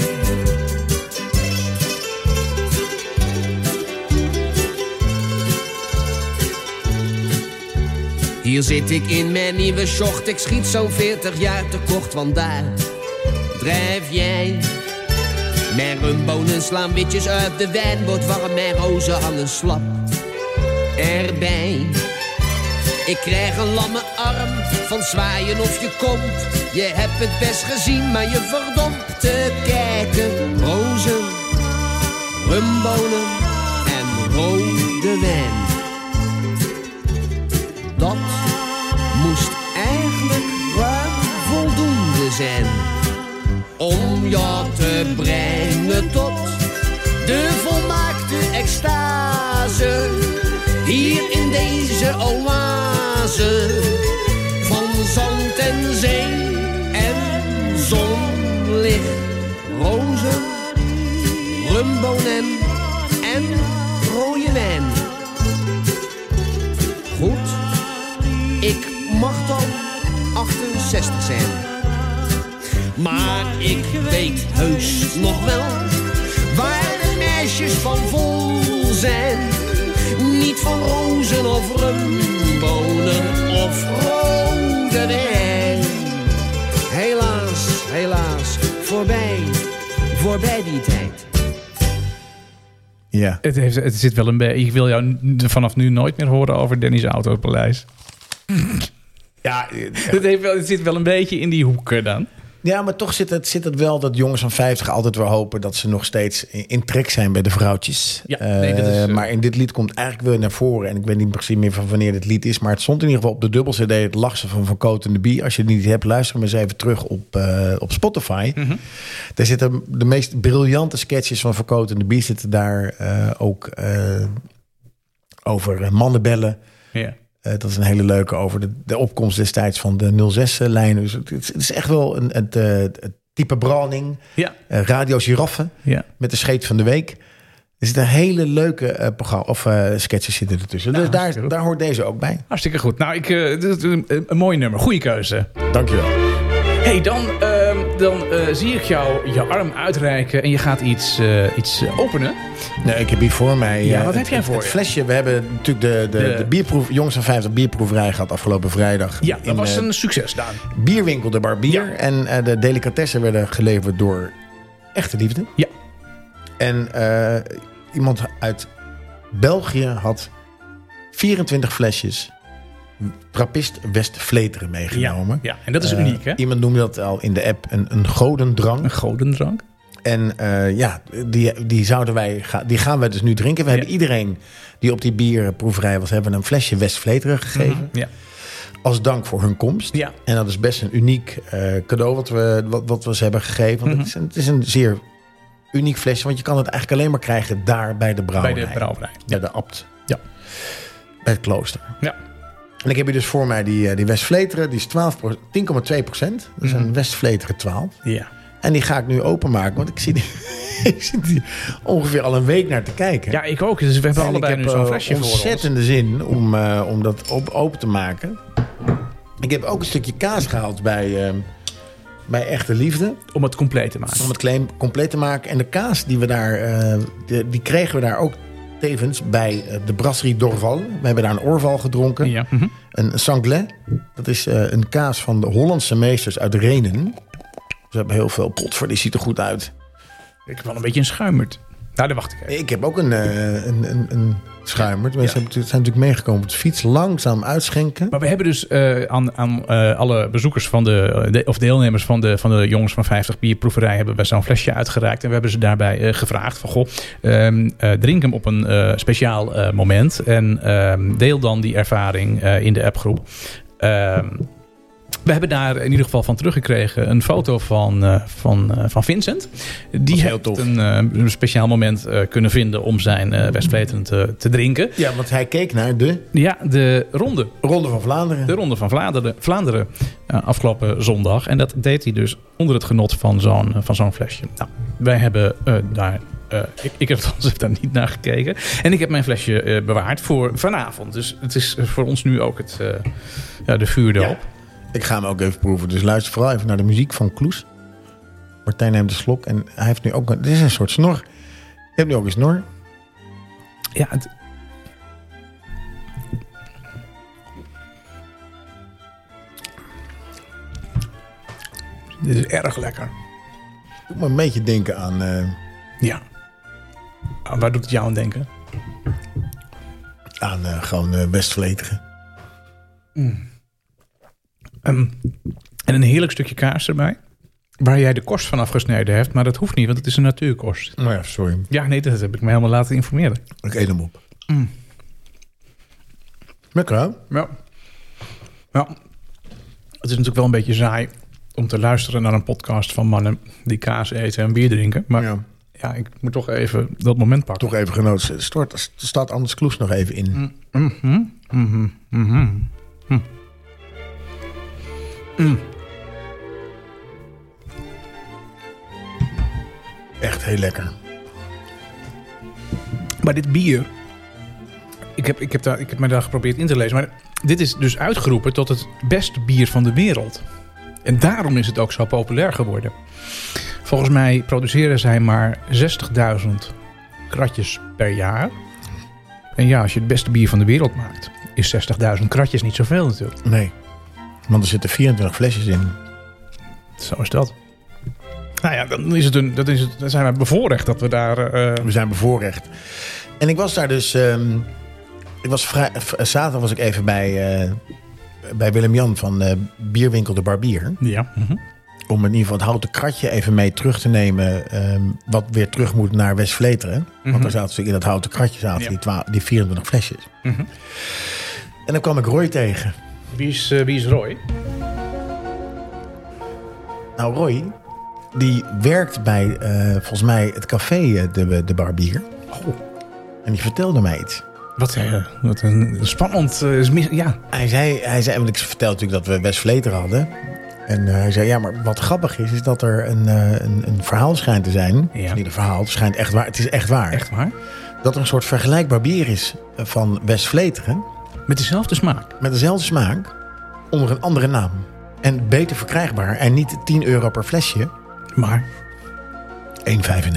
Hier zit ik in mijn nieuwe sjocht, ik schiet zo'n 40 jaar tekort, want daar drijf jij. Mijn rumbonen slaan witjes uit, de wijn wordt warm, mijn rozen hangen slap erbij. Ik krijg een lamme arm van zwaaien of je komt. Je hebt het best gezien, maar je verdompt te kijken. Rozen, rumbonen en rode wijn. Dat moest eigenlijk ruim voldoende zijn om jou te brengen tot de volmaakte extase. Hier in deze oase van zand en zee en zonlicht, rozen, rumbonen en rode wijn. Goed, ik mag dan 68 zijn. Maar ik weet heus nog wel waar de meisjes van vol zijn. Niet van rozen of rumbonen of rode wijn. Helaas, helaas, voorbij, voorbij die tijd.
Ja.
Het, heeft, het zit wel een beetje. Ik wil jou n- vanaf nu nooit meer horen over Dennis [laughs] Autopaleis.
Ja,
Het, heeft wel, het zit wel een beetje in die hoeken dan.
ja, maar toch zit het, zit het wel dat jongens van 50 altijd weer hopen dat ze nog steeds in, in trek zijn bij de vrouwtjes.
Ja,
Eh,
nee, dat is, eh,
maar in dit lied komt eigenlijk weer naar voren. En ik weet niet precies meer van wanneer dit lied is. Maar het stond in ieder geval op de dubbel CD. Het lachse van Van Koot en de Bie. Als je het niet hebt, luister hem eens even terug op, eh, op Spotify.
Mhm.
Daar zitten de meest briljante sketches van Van Koot en de Bie. Zitten daar eh, ook eh, over eh, mannen bellen.
Ja.
Eh, dat is een hele leuke over de, de opkomst destijds van de 06-lijn. Dus het, is- het is echt wel een, het, eh, het type Browning,
Ja.
eh, Radio Giraffe
ja.
met de scheet van de week. Er zitten hele leuke eh programma of eh, sketches zitten ertussen. dus daar, daar hoort deze ook bij.
Hartstikke goed. Nou, ik, eh, dit is een, een mooi nummer. Goede keuze.
Dankjewel.
hey, dan, ehm, dan eh, zie ik jou je arm uitreiken en je gaat iets, eh, iets eh, openen.
Nee, ik heb hier voor mij...
Ja,
eh,
wat heb jij
het,
voor
het
je?
flesje. We hebben natuurlijk de, de,
De-
de bierproef, jongens van 50 bierproeverij gehad afgelopen vrijdag.
Ja, dat
In,
was
eh,
een succes, Daan.
bierwinkel De Barbier.
Ja.
En eh, de delicatessen werden geleverd door Echte Liefde.
Ja.
En eh, iemand uit België had 24 flesjes Trappist West Vleteren meegenomen.
Ja, en dat is
Eh,
uniek, hè?
Iemand noemde dat al in de app een, een godendrang.
Een godendrank.
En eh, ja, die, die, zouden wij ga- die gaan wij dus nu drinken. We
Ja.
hebben iedereen die op die bierproeverij was... hebben we een flesje West Vleteren gegeven
Ja.
als dank voor hun komst.
Ja.
En dat is best een uniek eh, cadeau wat we, wat, wat we ze hebben gegeven. Want
Mhm.
het, is een, het is een zeer uniek flesje, want je kan het eigenlijk alleen maar krijgen daar bij de
Bij
brouwerij.
de brouwerij.
Bij de abt.
Ja.
Bij het klooster.
Ja.
En ik heb hier dus voor mij die, eh, die Westvleteren. Die is 12 pro- 10,2 procent. Dat is
Mhm.
een Westvleteren 12.
Ja.
En die ga ik nu openmaken, want ik zie die, [laughs] ik zit hier ongeveer al een week naar te kijken.
ja, ik ook. Dus we hebben
En
allebei
ik
nu
heb
zo'n
eh,
flesje voor ons.
ontzettende zin om, eh, om dat op, open te maken. Ik heb ook een stukje kaas gehaald bij, eh, bij Echte Liefde.
Om het compleet te maken.
Om het claim compleet te maken. En de kaas die we daar, eh, de- die kregen we daar ook tevens bij eh, de Brasserie Dorval. We hebben daar een orval gedronken.
Ja. mhm.
Een sanglais. Dat is eh, een kaas van de Hollandse meesters uit Renen. Ze hebben heel veel pot voor, die ziet er goed uit.
Ik heb wel een beetje een schuimert. Nou, daar wacht ik even.
Ik heb ook een, eh, een, een, een schuimer. Mensen zijn natuurlijk meegekomen op de fiets. Langzaam uitschenken.
Maar we hebben dus eh, aan, aan eh, alle bezoekers van de, eh, de- of deelnemers van de, van de Jongens van 50 Bierproeverij hebben we zo'n flesje uitgereikt. En we hebben ze daarbij eh, gevraagd van, goh, ehm, eh, drink hem op een eh, speciaal eh, moment. En ehm, deel dan die ervaring eh, in de appgroep. Ehm, we hebben daar in ieder geval van teruggekregen een foto van, eh, van, eh, van Vincent. Die
heel
heeft
tof.
een, eh, een speciaal moment eh, kunnen vinden om zijn eh Westvleteren te, te drinken.
Ja, want hij keek naar de
Ja, de ronde
Ronde van Vlaanderen.
de Ronde van Vlaanderen, Vlaanderen eh, afgelopen zondag. En dat deed hij dus onder het genot van zo'n van zo'n flesje. Nou, wij hebben eh, daar eh, ik, ik heb het [laughs] anders daar niet naar gekeken. En ik heb mijn flesje eh, bewaard voor vanavond. Dus het is voor ons nu ook het, eh, ja, de vuurdoop.
Ik ga hem ook even proeven. Dus luister vooral even naar de muziek van Kloes. Martijn neemt een slok en hij heeft nu ook een... Dit is een soort snor. Je hebt nu ook een snor.
Ja, het... Dit is erg lekker.
Doe me een beetje denken aan... eh,
Ja. Ah, Waar doet het jou aan denken?
aan eh, gewoon eh, best verletigen.
Ehm, en een heerlijk stukje kaas erbij. Waar jij de korst van afgesneden hebt, maar dat hoeft niet, want het is een natuurkorst.
Maar Nou ja, sorry.
Ja, nee, dat heb ik me helemaal laten informeren.
Ik eet hem op. Mm. Lekker, hè?
Ja. ja. Het is natuurlijk wel een beetje saai om te luisteren naar een podcast van mannen die kaas eten en bier drinken. Maar ja,
Ja.
ik moet toch even dat moment pakken.
Toch even genoten. Stort, er staat Anders Kloes nog even in. Echt heel lekker.
Maar dit bier, ik heb, ik, heb daar, ik heb me daar geprobeerd in te lezen. Maar dit is dus uitgeroepen tot het beste bier van de wereld. En daarom is het ook zo populair geworden. Volgens mij produceren zij maar 60.000 kratjes per jaar. En ja, als je het beste bier van de wereld maakt, is 60.000 kratjes niet zoveel natuurlijk.
Nee. Want er zitten 24 flesjes in.
Zo is dat. Nou ja, dan, is het een, dat is het, dan zijn wij bevoorrecht dat we daar... eh,
We zijn bevoorrecht. En ik was daar dus... ehm, ik was vrij, v- zaterdag was ik even bij, eh, bij Willem-Jan van eh, Bierwinkel de Barbier.
ja. mhm.
Om in ieder geval het houten kratje even mee terug te nemen. ehm, wat weer terug moet naar West-Vleteren. Want daar zaten natuurlijk in dat houten kratje zaten
Mhm. Ja.
die, twa- die 24 flesjes.
Mhm.
En dan kwam ik Roy tegen.
Wie, is, eh, wie is Roy?
Nou, Roy, die werkt bij eh, volgens mij het café eh, de, de Barbier.
Oh.
En die vertelde mij iets.
Wat, eh, wat een spannend. eh, is mis- ja.
Hij zei, hij zei want ik vertelde natuurlijk dat we West Vleter hadden. En eh, hij zei, ja, maar wat grappig is, is dat er een, eh, een, een verhaal schijnt te zijn.
Ja.
Het is niet een verhaal, het, schijnt echt waar, het is echt waar.
Echt waar?
Dat er een soort vergelijkbaar bier is eh, van West Vleteren.
Met dezelfde smaak.
Met dezelfde smaak, onder een andere naam. En beter verkrijgbaar. En niet 10 euro per flesje,
Maar
1,95. [laughs]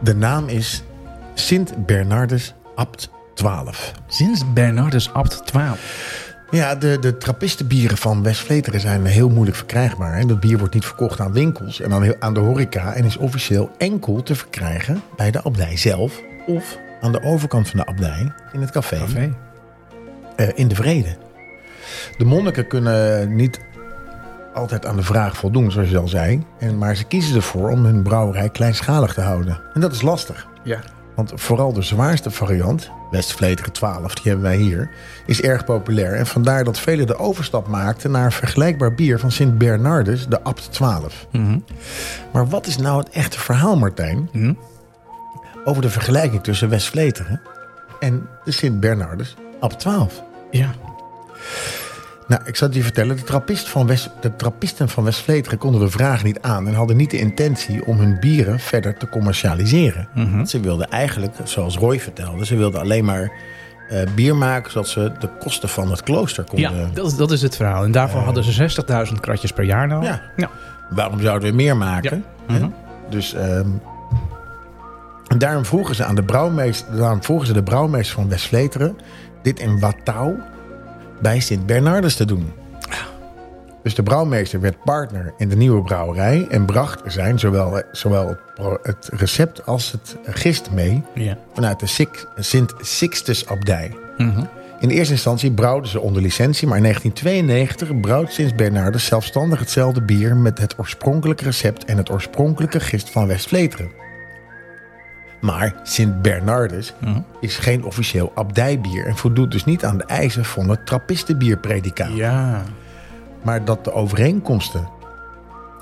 De naam is Sint Bernardus Abt 12.
sinds Bernardus Abt 12.
Ja, de, de trappistenbieren van West-Vleteren zijn heel moeilijk verkrijgbaar. Hè? Dat bier wordt niet verkocht aan winkels en aan, heel- aan de horeca... en is officieel enkel te verkrijgen bij de abdij zelf... of aan de overkant van de abdij in het café,
Café.
eh, in de Vrede. De monniken kunnen niet altijd aan de vraag voldoen, zoals je al zei... En, maar ze kiezen ervoor om hun brouwerij kleinschalig te houden. En dat is lastig.
Ja.
Want vooral de zwaarste variant, Westvleteren 12, die hebben wij hier, is erg populair. En vandaar dat velen de overstap maakten naar een vergelijkbaar bier van Sint Bernardus, de Abt 12. Maar wat is nou het echte verhaal, Martijn, over de vergelijking tussen Westvleteren en de Sint Bernardus Abt 12?
Ja.
Nou, ik zal het je vertellen. De, trappist van West, de trappisten van West-Vleteren konden de vraag niet aan... en hadden niet de intentie om hun bieren verder te commercialiseren. Want ze wilden eigenlijk, zoals Roy vertelde... ze wilden alleen maar eh, bier maken... zodat ze de kosten van het klooster konden...
ja dat, is- dat is het verhaal. En daarvan hadden ze 60.000 kratjes per jaar nou.
Ja.
eh, ja.
Waarom zouden we meer maken?
Ja. Mhm.
Dus... ehm, en daarom vroegen, ze aan de brouwmeester, daarom vroegen ze de brouwmeester van West-Vleteren... dit in Watau bij Sint Bernardus te doen. Dus de brouwmeester werd partner in de nieuwe brouwerij en bracht zijn zowel, zowel het pro- het recept als het gist mee
Ja.
vanuit de Six- Sint Sixtus-abdij. In eerste instantie brouwden ze onder licentie, maar in 1992 brouwt Sint Bernardus zelfstandig hetzelfde bier met het oorspronkelijke recept en het oorspronkelijke gist van West-Vleteren. Maar Sint Bernardus
Mhm.
is geen officieel abdijbier en voldoet dus niet aan de eisen van het trappistenbierpredicaat
Ja.
maar dat de overeenkomsten,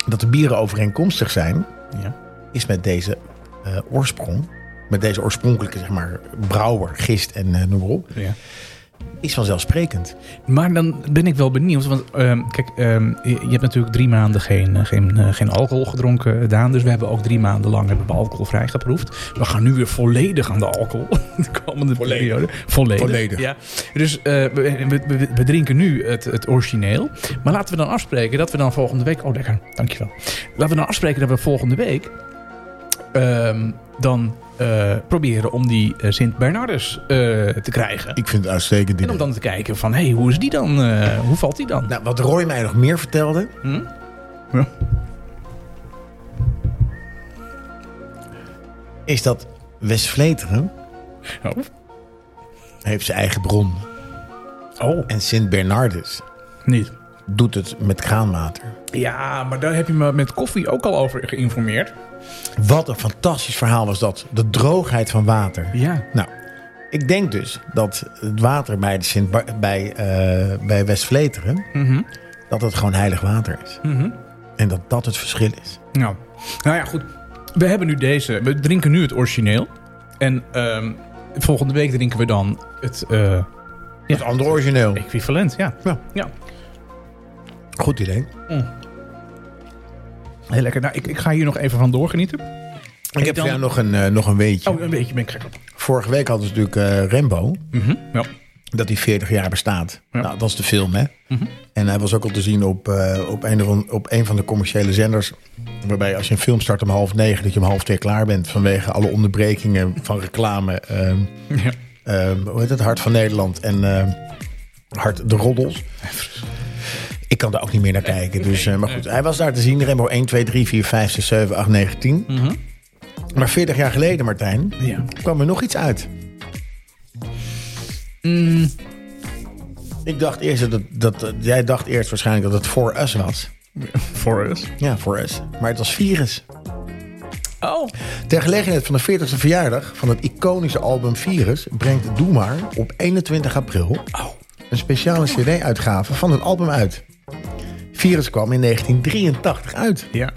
dat de bieren overeenkomstig zijn,
Ja.
is met deze eh, oorsprong, met deze oorspronkelijke zeg maar brouwer, gist en eh, noem maar op,
Ja.
is vanzelfsprekend.
Maar dan ben ik wel benieuwd. Want ehm, kijk, ehm, je, je hebt natuurlijk drie maanden geen, eh, geen, eh, geen alcohol gedronken, Daan. Dus we hebben ook drie maanden lang hebben we alcoholvrij geproefd. We gaan nu weer volledig aan de alcohol. [laughs] De komende periode. Volledig.
Volledig.
Ja. Dus eh, we, we- we- we drinken nu het, het origineel. Maar laten we dan afspreken dat we dan volgende week... Oh, lekker. Dankjewel. Laten we dan afspreken dat we volgende week... ehm, dan eh, proberen om die eh, Sint-Bernardus eh, te krijgen.
Ik vind het uitstekend.
En om
idee.
dan te kijken van, hé, hey, hoe is die dan? eh, hoe valt die dan?
Nou, wat Roy mij nog meer vertelde.
Hm? Ja.
Is dat West Vleteren
Oh.
heeft zijn eigen bron.
Oh,
En Sint Bernardus
niet.
doet het met kraanwater.
Ja, maar daar heb je me met koffie ook al over geïnformeerd.
Wat een fantastisch verhaal was dat. De droogheid van water.
Ja.
Nou, ik denk dus dat het water bij, de Sint Bar- bij, eh, bij West Vleteren...
Mhm.
dat het gewoon heilig water is. En dat dat het verschil is.
Nou, nou ja, goed. We hebben nu deze. We drinken nu het origineel. En ehm, volgende week drinken we dan het eh,
Het andere origineel.
equivalent. Ja.
Ja.
ja.
Goed idee.
Heel lekker. Nou, ik, ik ga hier nog even van doorgenieten.
Ik
dan-
heb voor jou nog een, eh, nog een weetje.
Oh, een beetje ben ik gek op.
Vorige week hadden ze natuurlijk eh Rembo.
Mhm, Ja.
dat hij 40 jaar bestaat.
Ja. Mhm.
Nou, dat is de film, hè? En hij was ook al te zien op, eh, op, een van, op een van de commerciële zenders. Waarbij als je een film start om half negen, dat je om half twee klaar bent. Vanwege alle onderbrekingen van reclame. ehm,
ja.
ehm, hoe heet het? Hart van Nederland en ehm, Hart de Roddels. Ik kan daar ook niet meer naar kijken. Dus, eh, maar goed, hij was daar te zien. Rembo 1, 2, 3, 4, 5, 6, 7, 8, 9, 10. Maar 40 jaar geleden, Martijn,
Ja.
kwam er nog iets uit. Ik dacht eerst dat, het- dat, dat- jij dacht eerst waarschijnlijk dat het voor us was.
For us.
Ja, voor us. Maar het was virus.
Oh.
Ter gelegenheid van de 40e verjaardag van het iconische album Virus brengt Doe maar op 21 april een speciale CD-uitgave van het album uit. Virus kwam in 1983 uit.
Ja.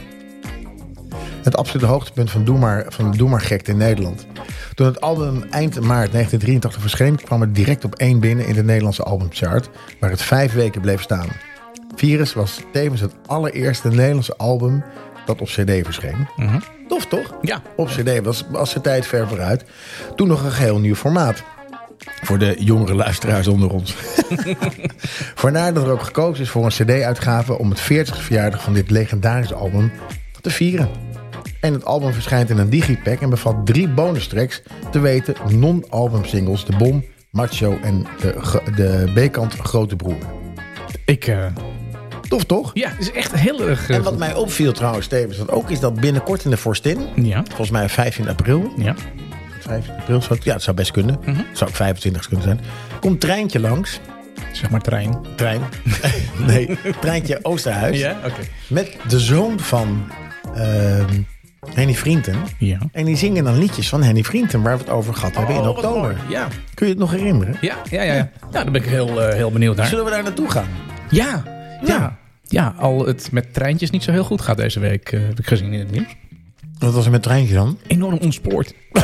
Het absolute hoogtepunt van, Doe maar, van de Doe maar gekte in Nederland. Toen het album eind maart 1983 verscheen, kwam het direct op één binnen in de Nederlandse albumchart, waar het vijf weken bleef staan. Virus was tevens het allereerste Nederlandse album dat op CD verscheen. Tof toch?
Ja.
Op CD was, was de tijd ver vooruit. Toen nog een geheel nieuw formaat. Voor de jongere luisteraars onder ons. Vandaar dat er ook gekozen is voor een CD-uitgave om het 40e verjaardag van dit legendarische album te vieren. En het album verschijnt in een digipack en bevat drie bonus tracks, te weten non-album singles De Bom, Macho en de, gro- de B-kant Grote Broer.
Ik, eh,
Tof toch?
ja, het is echt heel erg... eh,
En wat mij opviel trouwens tevens dat ook is dat binnenkort in de Forstin,
eh, Ja.
volgens mij 15 april,
Ja. Mhm.
15 april zou het, ja, het zou best kunnen, het zou ook 25 kunnen zijn, komt treintje langs,
Zeg maar trein.
trein, [laughs] nee, treintje Oosterhuis,
oké.
met de zoon van ehm Henny Vrienden.
Ja.
En die zingen dan liedjes van Henny Vrienden, waar we het over gehad hebben in
Oh, wat
oktober.
mooi. Ja.
Kun je het nog herinneren?
Ja, ja, ja. ja. Nou, daar ben ik heel, eh, heel benieuwd naar.
Zullen we daar naartoe gaan?
Ja, ja. Ja, al het met treintjes niet zo heel goed gaat deze week, eh, heb ik gezien in het nieuws.
Wat was er met treintje dan?
Enorm ontspoord. [laughs]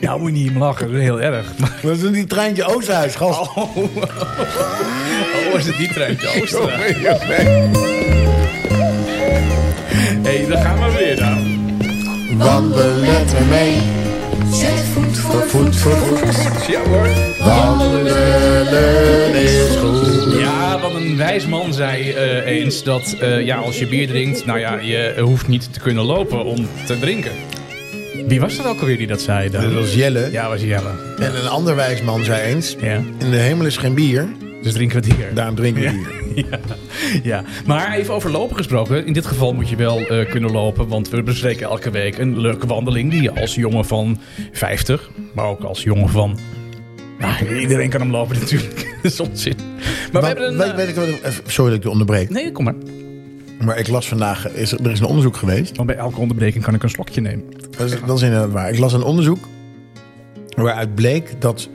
nou, moet je niet om lachen, dat is heel erg. [laughs] Maar
Dat is in die treintje Oosterhuis, gast.
oh, is het die [laughs] treintje Oosten? Hé, hey, daar gaan we weer nou.
Wandelen ermee. Zet voet voor voet voor voet.
Ja hoor.
Wandelen is goed.
Ja, wat een wijs man zei eh, eens dat eh, ja, als je bier drinkt, nou ja, je hoeft niet te kunnen lopen om te drinken. Wie was dat ook alweer die dat zei dan?
Dat was Jelle.
Ja, was Jelle.
En een ander wijsman zei eens,
Ja.
in de hemel is geen bier,
Dus drinken we het hier.
daarom drinken we bier.
Ja, ja, maar even over lopen gesproken. In dit geval moet je wel eh, kunnen lopen, want we bespreken elke week een leuke wandeling die je als jongen van 50, maar ook als jongen van. Nou, iedereen kan hem lopen natuurlijk. [laughs] Dat is onzin. Maar we
Wat-
hebben een.
weet-
eh,
weet ik wat ik- even- sorry dat ik je onderbreek,
Nee, kom maar.
maar ik las vandaag, is, er er is een onderzoek geweest.
Want bij elke onderbreking kan ik een slokje nemen.
Dat is, dat is inderdaad waar. Ik las een onderzoek waaruit bleek dat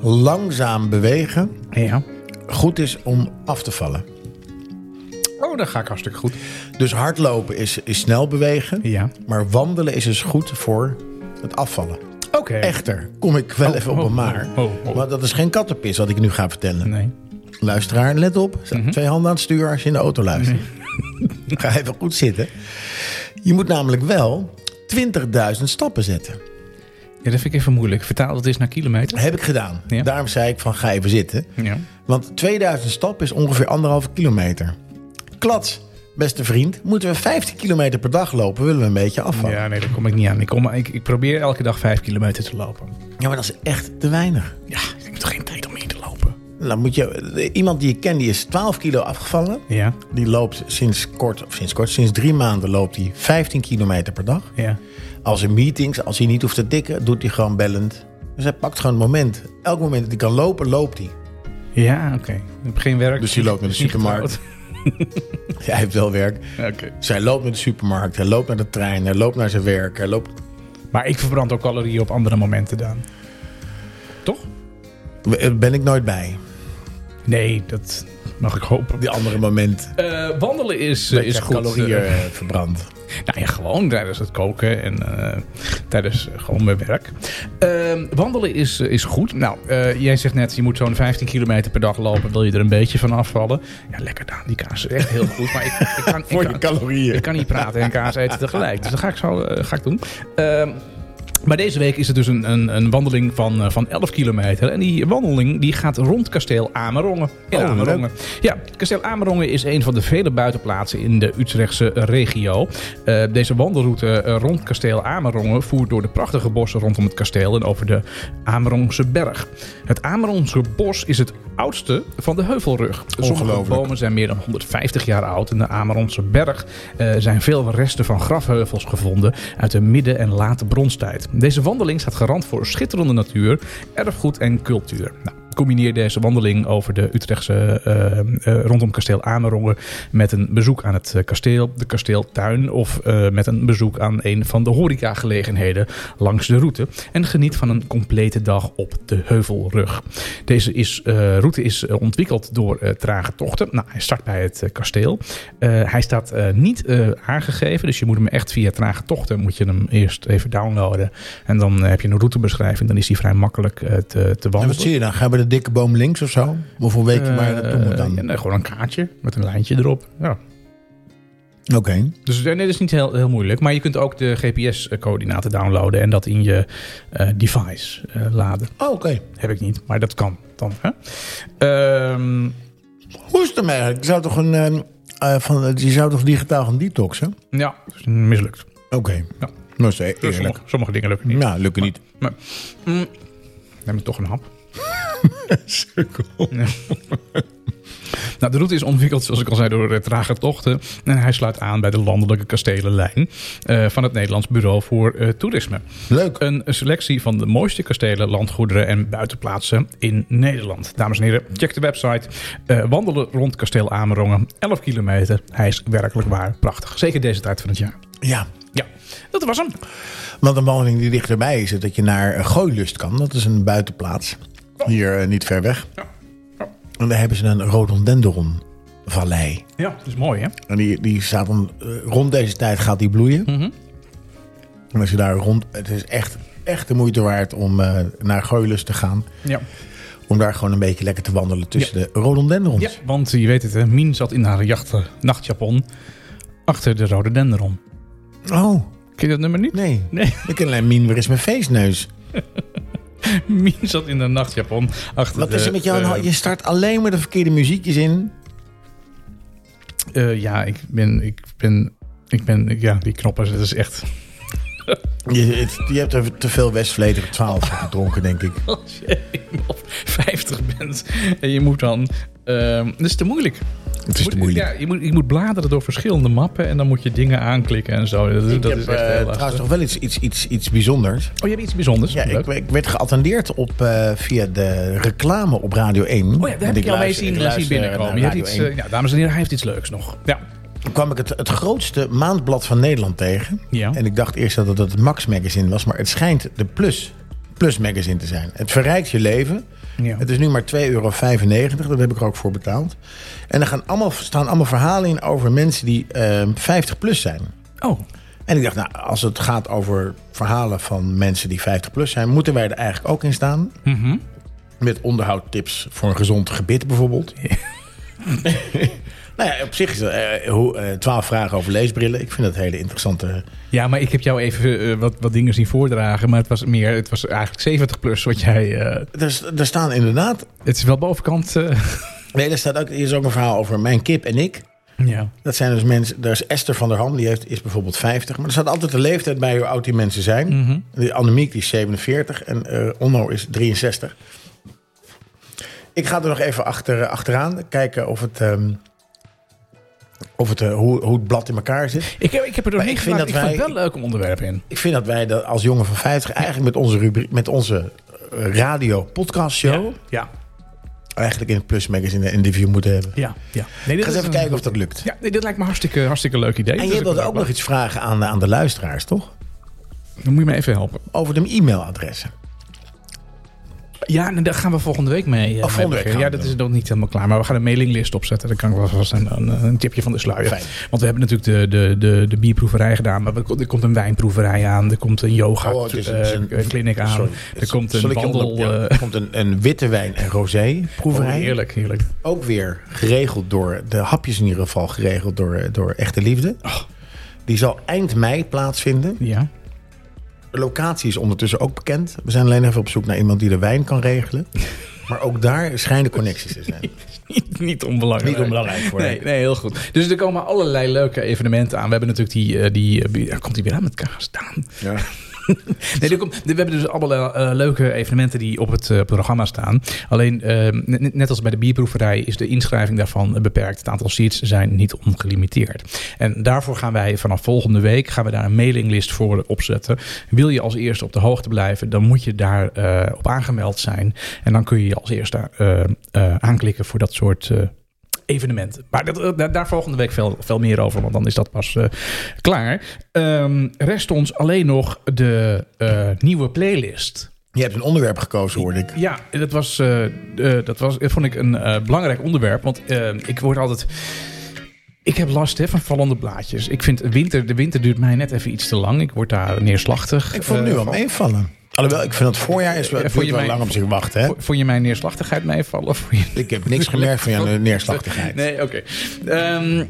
langzaam bewegen
Ja.
goed is om af te vallen.
Oh, dat ga ik hartstikke goed.
Dus hardlopen is, is snel bewegen,
Ja.
maar wandelen is dus goed voor het afvallen.
Oké.
Echter, kom ik wel even op
oh,
een maar.
oh, oh, oh.
Maar dat is geen kattenpis wat ik nu ga vertellen.
Nee. Mhm.
Luisteraar, let op. Er staan Twee handen aan het stuur als je in de auto luistert. [laughs] Ga even goed zitten. Je moet namelijk wel 20.000 stappen zetten.
Ja, dat vind ik even moeilijk. Vertaal dat eens naar kilometer.
Heb ik gedaan.
Ja.
Daarom zei ik van ga even zitten.
Ja.
Want 2000 stappen is ongeveer anderhalve kilometer. Klats, beste vriend. Moeten we 15 kilometer per dag lopen, willen we een beetje afvallen. Ja,
Ja, nee, daar kom ik niet aan. Ik, kom, ik, ik probeer elke dag vijf kilometer te lopen.
maar dat is echt te weinig.
Ja, ik heb toch geen tijd om hier te lopen?
Dan moet je, iemand die je kent, die is 12 kilo afgevallen.
Ja,
Die loopt sinds kort, of sinds kort, sinds drie maanden loopt hij 15 kilometer per dag.
ja.
Als in meetings, als hij niet hoeft te dikken, doet hij gewoon bellend. Dus hij pakt gewoon het moment. Elk moment dat hij kan lopen, loopt hij. [laughs]
Ja, oké. Ik heb geen werk.
Dus je loopt
[laughs]
naar de
Niet
supermarkt.
getrouwd.
Hij heeft wel werk.
Oké.
Dus hij loopt naar de supermarkt, hij loopt naar de trein, hij loopt naar zijn werk. Hij loopt...
Maar ik verbrand ook calorieën op andere momenten dan. Toch?
Ben ik nooit bij,
Nee, dat mag ik hopen.
die andere moment.
Eh, wandelen is, eh,
dat
is
je
goed.
calorieën
Eh,
eh,
[laughs]
verbrand.
nou ja, gewoon tijdens het koken en eh, tijdens eh, gewoon mijn werk. Ehm, wandelen is, eh, is goed. Nou, eh, jij zegt net, je moet zo'n 15 kilometer per dag lopen. Wil je er een beetje van afvallen? Ja, lekker dan. Die kaas is echt heel goed. Maar ik, ik
[laughs]
kan, ik
Voor je
kan-
calorieën.
Ik kan niet praten en kaas eten tegelijk. Dus dat ga ik zo eh, ga ik doen. Ehm, maar deze week is het dus een, een, een wandeling van, eh, van 11 kilometer. En die wandeling die gaat rond kasteel Amerongen. In
Oh,
Amerongen. Ja, kasteel Amerongen is een van de vele buitenplaatsen in de Utrechtse regio. Eh, deze wandelroute eh, rond kasteel Amerongen voert door de prachtige bossen rondom het kasteel en over de Amerongse berg. Het Amerongse bos is het oudste van de Heuvelrug. Sommige
Ongelooflijk.
bomen zijn meer dan 150 jaar oud. In de Amerongse berg eh, zijn veel resten van grafheuvels gevonden uit de midden- en late bronstijd. Deze wandeling staat garant voor schitterende natuur, erfgoed en cultuur. Nou, combineer deze wandeling over de Utrechtse eh, eh, rondom kasteel Amerongen met een bezoek aan het eh, kasteel, de kasteeltuin of eh, met een bezoek aan een van de horecagelegenheden langs de route en geniet van een complete dag op de Heuvelrug. Deze is, eh, route is eh, ontwikkeld door eh, Trage Tochten. Nou, hij start bij het eh, kasteel. Eh, hij staat eh, niet eh, aangegeven, dus je moet hem echt via Trage Tochten moet je hem eerst even downloaden en dan eh, heb je een routebeschrijving. Dan is die vrij makkelijk eh, te, te
En wat
wandelen.
zie je dan? Gaan we de dikke boom links of zo? Of hoe weet je waar je naartoe moet dan?
Eh, ja, nee, gewoon een kaartje met een lijntje erop. Ja.
Oké.
Dus eh, nee, dat is niet heel, heel moeilijk. Maar je kunt ook de GPS-coördinaten downloaden en dat in je eh, device eh, laden.
Oh, Oké.
Heb ik niet, maar dat kan dan. Hè? Ehm,
Hoe is het ermee eigenlijk? Je zou toch, een, eh, eh, van, eh, je zou toch digitaal gaan detoxen?
ja, dus mislukt.
Oké.
Ja.
Nou, is e-
Dus
eerlijk.
sommige, sommige dingen lukken niet.
Ja, lukken niet.
Maar, mm, neem ik toch een [laughs] hap. Nou, de route is ontwikkeld, zoals ik al zei, door eh, trage tochten. En hij sluit aan bij de landelijke kastelenlijn eh, van het Nederlands Bureau voor eh, Toerisme.
Leuk.
Een selectie van de mooiste kastelen, landgoederen en buitenplaatsen in Nederland. Dames en heren, check de website. Eh, wandelen rond kasteel Amerongen, 11 kilometer. Hij is werkelijk waar prachtig. Zeker deze tijd van het jaar.
Ja.
Ja, dat was hem.
Want een wandeling die dichterbij is, is dat je naar eh, Gooilust kan. Dat is een buitenplaats. Hier eh, niet ver weg. En daar hebben ze een rhododendron vallei.
Ja, dat is mooi hè?
En die, die staat dan, eh, rond deze tijd gaat die bloeien.
Mhm.
En als je daar rond, het is echt, echt de moeite waard om eh, naar Gooilust te gaan.
Ja.
Om daar gewoon een beetje lekker te wandelen tussen de rhododendrons.
ja, want je weet het hè, Mien zat in haar jacht, eh, nachtjapon achter de rode denderon.
Oh,
Ken je dat nummer niet?
nee.
Nee. [laughs]
Ik ken alleen Mien, waar is mijn feestneus?
Mien zat in haar nachtjapon achter
Wat
de...
is er met jou? aan de
eh,
hand? je start alleen maar de verkeerde muziekjes in.
eh, ja, ik ben... Ik ben... Ik ben... ik- Ja, die knoppen, dat is echt... [laughs]
Je, het- je hebt er te veel Westvleter 12 [laughs] gedronken, denk ik.
Als je eenmaal 50 bent en je moet dan... ehm dat is te moeilijk.
Het is te moeilijk.
Ja, je, moet, je moet bladeren door verschillende mappen en dan moet je dingen aanklikken en zo. Dat,
ik
dat
heb
is echt heel
eh,
lastig.
trouwens nog wel iets, iets, iets, iets bijzonders.
Oh, je hebt iets bijzonders.
Ja, ik,
Leuk.
ik werd geattendeerd op, eh, via de reclame op Radio 1.
Oh ja, daar heb ik jou mee zien, zien binnenkomen. Je hebt iets, eh, ja, dames en heren, hij heeft iets leuks nog. Ja.
Toen kwam ik het, het grootste maandblad van Nederland tegen.
Ja.
En ik dacht eerst dat het het Max Magazine was, maar het schijnt de Plus, Plus Magazine te zijn. Het verrijkt je leven.
Ja.
Het is nu maar 2,95 euro, dat heb ik er ook voor betaald. En er gaan allemaal, staan allemaal verhalen in over mensen die eh, 50 ehm, plus zijn.
Oh,
En ik dacht, nou, als het gaat over verhalen van mensen die 50 plus zijn, moeten wij er eigenlijk ook in staan. Met onderhoudtips voor een gezond gebit bijvoorbeeld. nou ja, op zich is dat eh, hoe, eh, 12 vragen over leesbrillen. Ik vind dat hele interessante.
Ja, maar ik heb jou even eh, wat, wat dingen zien voordragen. Maar het was meer, het was eigenlijk 70 plus wat jij. eh,
Er, Dus, er staan inderdaad.
het is wel bovenkant. eh,
Nee, er staat ook, hier is ook een verhaal over mijn kip en ik.
ja.
Dat zijn dus mensen. Daar is Esther van der Ham, die heeft, is bijvoorbeeld 50. Maar er staat altijd de leeftijd bij hoe oud die mensen zijn.
Mhm.
Die Annemiek die is 47 en eh, Onno is 63. Ik ga er nog even achter, eh, achteraan kijken of het. ehm, of het, eh, hoe, hoe het blad in elkaar zit.
Ik, heb- ik heb er doorheen
ik vind
gevraagd. Ik
dat
vind het
wij-
wel een leuk om onderwerp in.
Ik vind dat wij dat als jongen van 50 eigenlijk met onze, rubriek, met onze eh, radio-podcast-show.
Oh. Ja,
eigenlijk in het Plus Magazine een interview moeten hebben.
ja, ja. Nee,
Ik
dit
ga
is
eens even
een-
kijken of dat lukt.
Ja, nee, dit lijkt me hartstikke, hartstikke leuk idee.
en
Dus
je
ik-
wilde ook nog iets vragen aan, de- aan de luisteraars, toch?
Dan moet je me even helpen.
Over de e-mailadressen.
Ja, en daar gaan we volgende week mee. eh,
Oh, volgende
mee
week gaan we
ja,
het
dat
doen.
is nog niet helemaal klaar. Maar we gaan een mailinglist opzetten. Dan kan ik wel vast een, een, een tipje van de sluier.
Fijn.
Want we hebben natuurlijk de, de, de, de bierproeverij gedaan. Maar we- er komt een wijnproeverij aan. Er komt een yoga
Oh, het is een-
eh,
het is een-
clinic aan.
Sorry.
Er komt
Zal
een
ik je
wandel...
onder- ja,
eh,
er komt een, een witte wijn en rosé proeverij.
oh, heerlijk, heerlijk.
Ook weer geregeld door, de hapjes in ieder geval geregeld door, door Echte Liefde.
Oh.
Die zal eind mei plaatsvinden.
Ja. [laughs]
De locatie is ondertussen ook bekend. We zijn alleen even op zoek naar iemand die de wijn kan
[laughs]
regelen. Maar ook daar schijnen connecties te zijn.
Niet, niet onbelangrijk.
Niet onbelangrijk voor
nee, nee, heel goed. Dus er komen allerlei leuke evenementen aan. We hebben natuurlijk die... eh, die eh, bi- daar komt hij weer aan met kaas staan.
Ja.
Nee, er komt, we hebben dus allemaal eh, leuke evenementen die op het eh, programma staan. Alleen, eh, net, net als bij de bierproeverij, is de inschrijving daarvan eh, beperkt. Het aantal seats zijn niet ongelimiteerd. En daarvoor gaan wij vanaf volgende week gaan we daar een mailinglist voor opzetten. Wil je als eerste op de hoogte blijven, dan moet je daar eh, op aangemeld zijn. En dan kun je je als eerste eh, eh, aanklikken voor dat soort. eh, evenementen. Maar dat, eh, daar, daar volgende week veel, veel meer over, want dan is dat pas eh, klaar. Ehm, rest ons alleen nog de eh, nieuwe playlist.
Je hebt een onderwerp gekozen, hoorde ik.
Ja, dat, was, eh, eh, dat was, eh, vond ik een eh, belangrijk onderwerp, want eh, ik word altijd... Ik heb last hè, van vallende blaadjes. Ik vind winter, de winter duurt mij net even iets te lang. Ik word daar neerslachtig.
Ik vond het
eh,
nu al
van.
meevallen. Alhoewel, ik vind het voorjaar is wel,
Ja,
het
vond
duurt
je
wel
mij-
lang om zich wachten. Hè?
Vond je mijn neerslachtigheid meevallen? of vond je-
Ik heb niks gemerkt
[laughs]
van jouw neerslachtigheid.
Nee, oké. Ehm,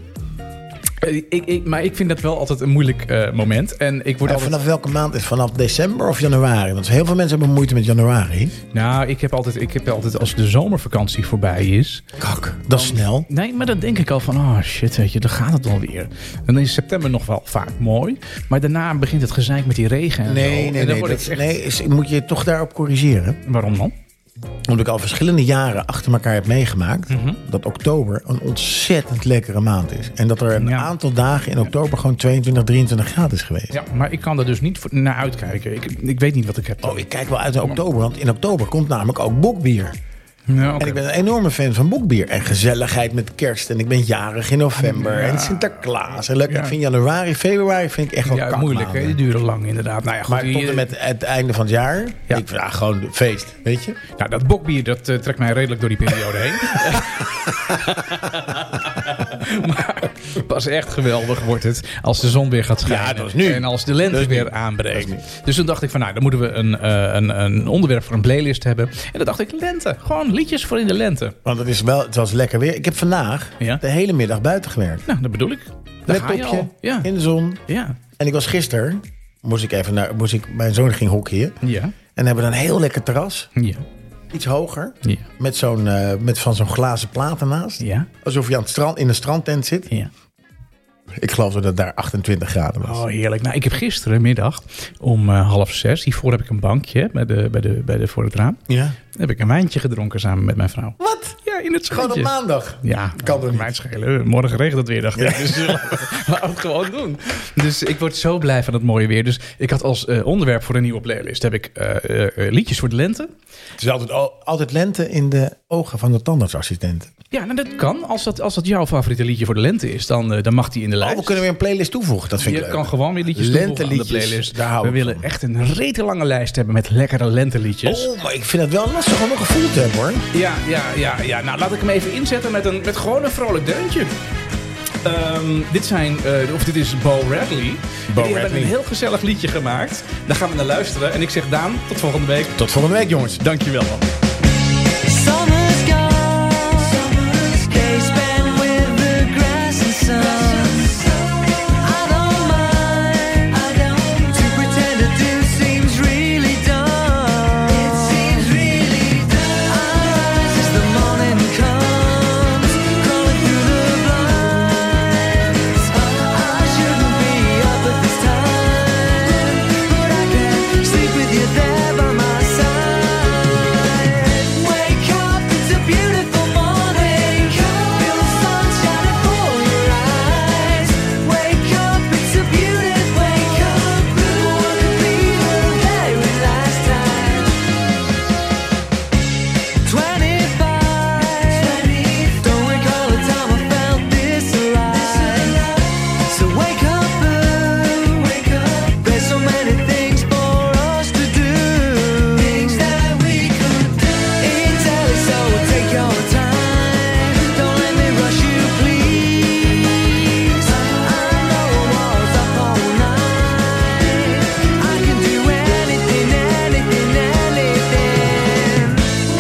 eh, ik, ik, maar ik vind dat wel altijd een moeilijk eh, moment. En ik word
Ja,
altijd...
vanaf welke maand is het? Vanaf december of januari? Want heel veel mensen hebben moeite met januari.
Nou, ik heb, altijd, ik heb altijd als de zomervakantie voorbij is.
Kak, dat is snel.
Nee, maar dan denk ik al van, oh shit, weet je, dan gaat het alweer. Dan is september nog wel vaak mooi. Maar daarna begint het gezeik met die regen. En zo.
Nee,
En
nee,
dan
nee.
word ik
Dat,
echt-
nee is, moet je toch daarop corrigeren.
Waarom dan?
Omdat ik al verschillende jaren achter elkaar heb meegemaakt...
Mhm.
dat oktober een ontzettend lekkere maand is. En dat er een
Ja.
aantal dagen in oktober gewoon 22, 23 graden is geweest.
Ja, maar ik kan er dus niet voor- naar uitkijken. Ik, ik weet niet wat ik heb.
Oh, ik kijk wel uit naar oktober, want in oktober komt namelijk ook bokbier.
Ja, oké.
En ik ben een enorme fan van bokbier. En gezelligheid met kerst. En ik ben jarig in november. En Sinterklaas. En leuk.
Ja.
Ik vind januari, februari vind ik echt wel
ja,
kakmaanden.
moeilijk, hè? Die duren lang inderdaad. Nou ja, goed,
Maar tot
die-
en met het einde van het jaar.
Ja.
Ik vraag gewoon feest, weet je?
Nou, dat bokbier dat eh, trekt mij redelijk door die periode
[laughs]
heen. maar pas echt geweldig wordt het als de zon weer gaat schijnen.
Ja, dat is nu.
En als de lente
Dat is nu.
weer
Dat
aanbreekt. Dus toen dacht ik van, nou, dan moeten we een, eh, een, een onderwerp voor een playlist hebben. En dan dacht ik, lente. Gewoon liedjes voor in de lente.
Want het, is wel, het was lekker weer. Ik heb vandaag
Ja.
de hele middag buiten gewerkt.
Nou, dat bedoel ik. Daar ga je
Laptopje,
al. Ja.
in de zon.
Ja.
En ik was gisteren, moest ik even naar, moest ik, mijn zoon ging hockeyen.
Ja.
En hebben dan een heel lekker terras.
Ja.
Iets hoger.
Ja.
Met zo'n, eh, met van zo'n glazen plaat ernaast.
Ja.
Alsof je aan het strand, in een strandtent zit.
Ja.
Ik geloof dat het daar 28 graden was.
Oh, heerlijk. Nou, ik heb gisterenmiddag om eh, half zes, hiervoor heb ik een bankje bij de, bij de, bij de, voor het raam.
Ja.
heb ik een wijntje gedronken samen met mijn vrouw.
Wat?
Ja, in het
Gewoon op
schootje.
maandag.
Ja,
Kan
kan
er niet.
mij het schelen. Morgen regent het weer, dacht ik. Dus eh, [laughs] laten we het gewoon doen. Dus ik word zo blij van het mooie weer. Dus ik had als eh, onderwerp voor een nieuwe playlist... heb ik eh, eh, eh, liedjes voor de lente.
Het is altijd, al- altijd lente in de ogen van de tandartsassistent.
Ja, nou, dat kan. Als dat, als dat jouw favoriete liedje voor de lente is... dan, eh, dan mag die in de
Oh,
lijst.
we kunnen weer een playlist toevoegen. Dat vind
je
ik leuk.
kan gewoon weer liedjes
Lente
toevoegen aan de
liedjes,
playlist.
daar hou
We
ik
willen
van.
echt een rete lange lijst hebben met lekkere lenteliedjes.
Oh, maar ik vind het wel lastig om een gevoel te hebben hoor.
Ja, ja, ja, ja. Nou, laat ik hem even inzetten met, een, met gewoon een vrolijk deuntje. Ehm, dit, zijn, eh, of dit is Bo Radley. Bo die hebben
Radley.
een heel gezellig liedje gemaakt. Daar gaan we naar luisteren. En ik zeg Daan, tot volgende week.
Tot volgende week, jongens.
Dankjewel.
Summer's gone. Days spent with the grass and sun. I don't mind. I don't to pretend to do seems really dumb. It seems really dumb. I rise as the morning comes, crawling through the blinds. I shouldn't be up at this time, but I can sleep with you there by my side. Wake up, it's a beautiful morning. Feel the sun shining for your eyes. Wake up, it's a beautiful. Wake up, we wanna be the very last time. Twenty-five, don't recall the time I felt this alive. So wake up, boo. Wake up. There's so many things for us to do. Things that we could do. It's early, so take your time. Don't let me rush you, please. I know I was up all night. I can do anything, anything, anything.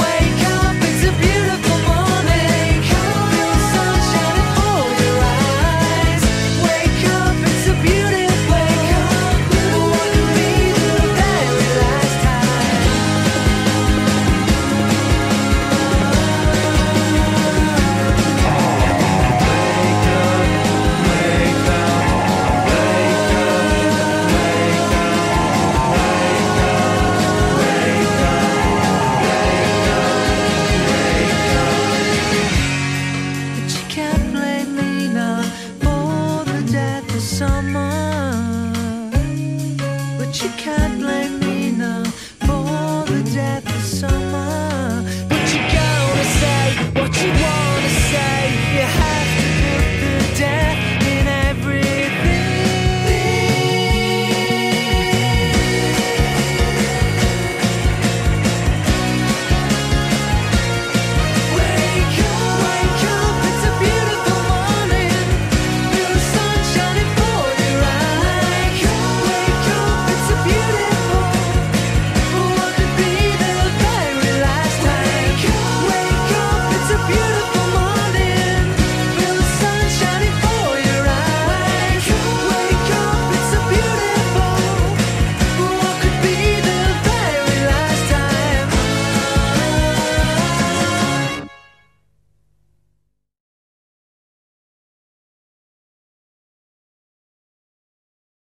Wake up, it's a beautiful morning. Feel the sun shining for your eyes. Wake up, it's a beautiful. Wake up, wouldn't be the very last time. But you can't blame me now for the death of someone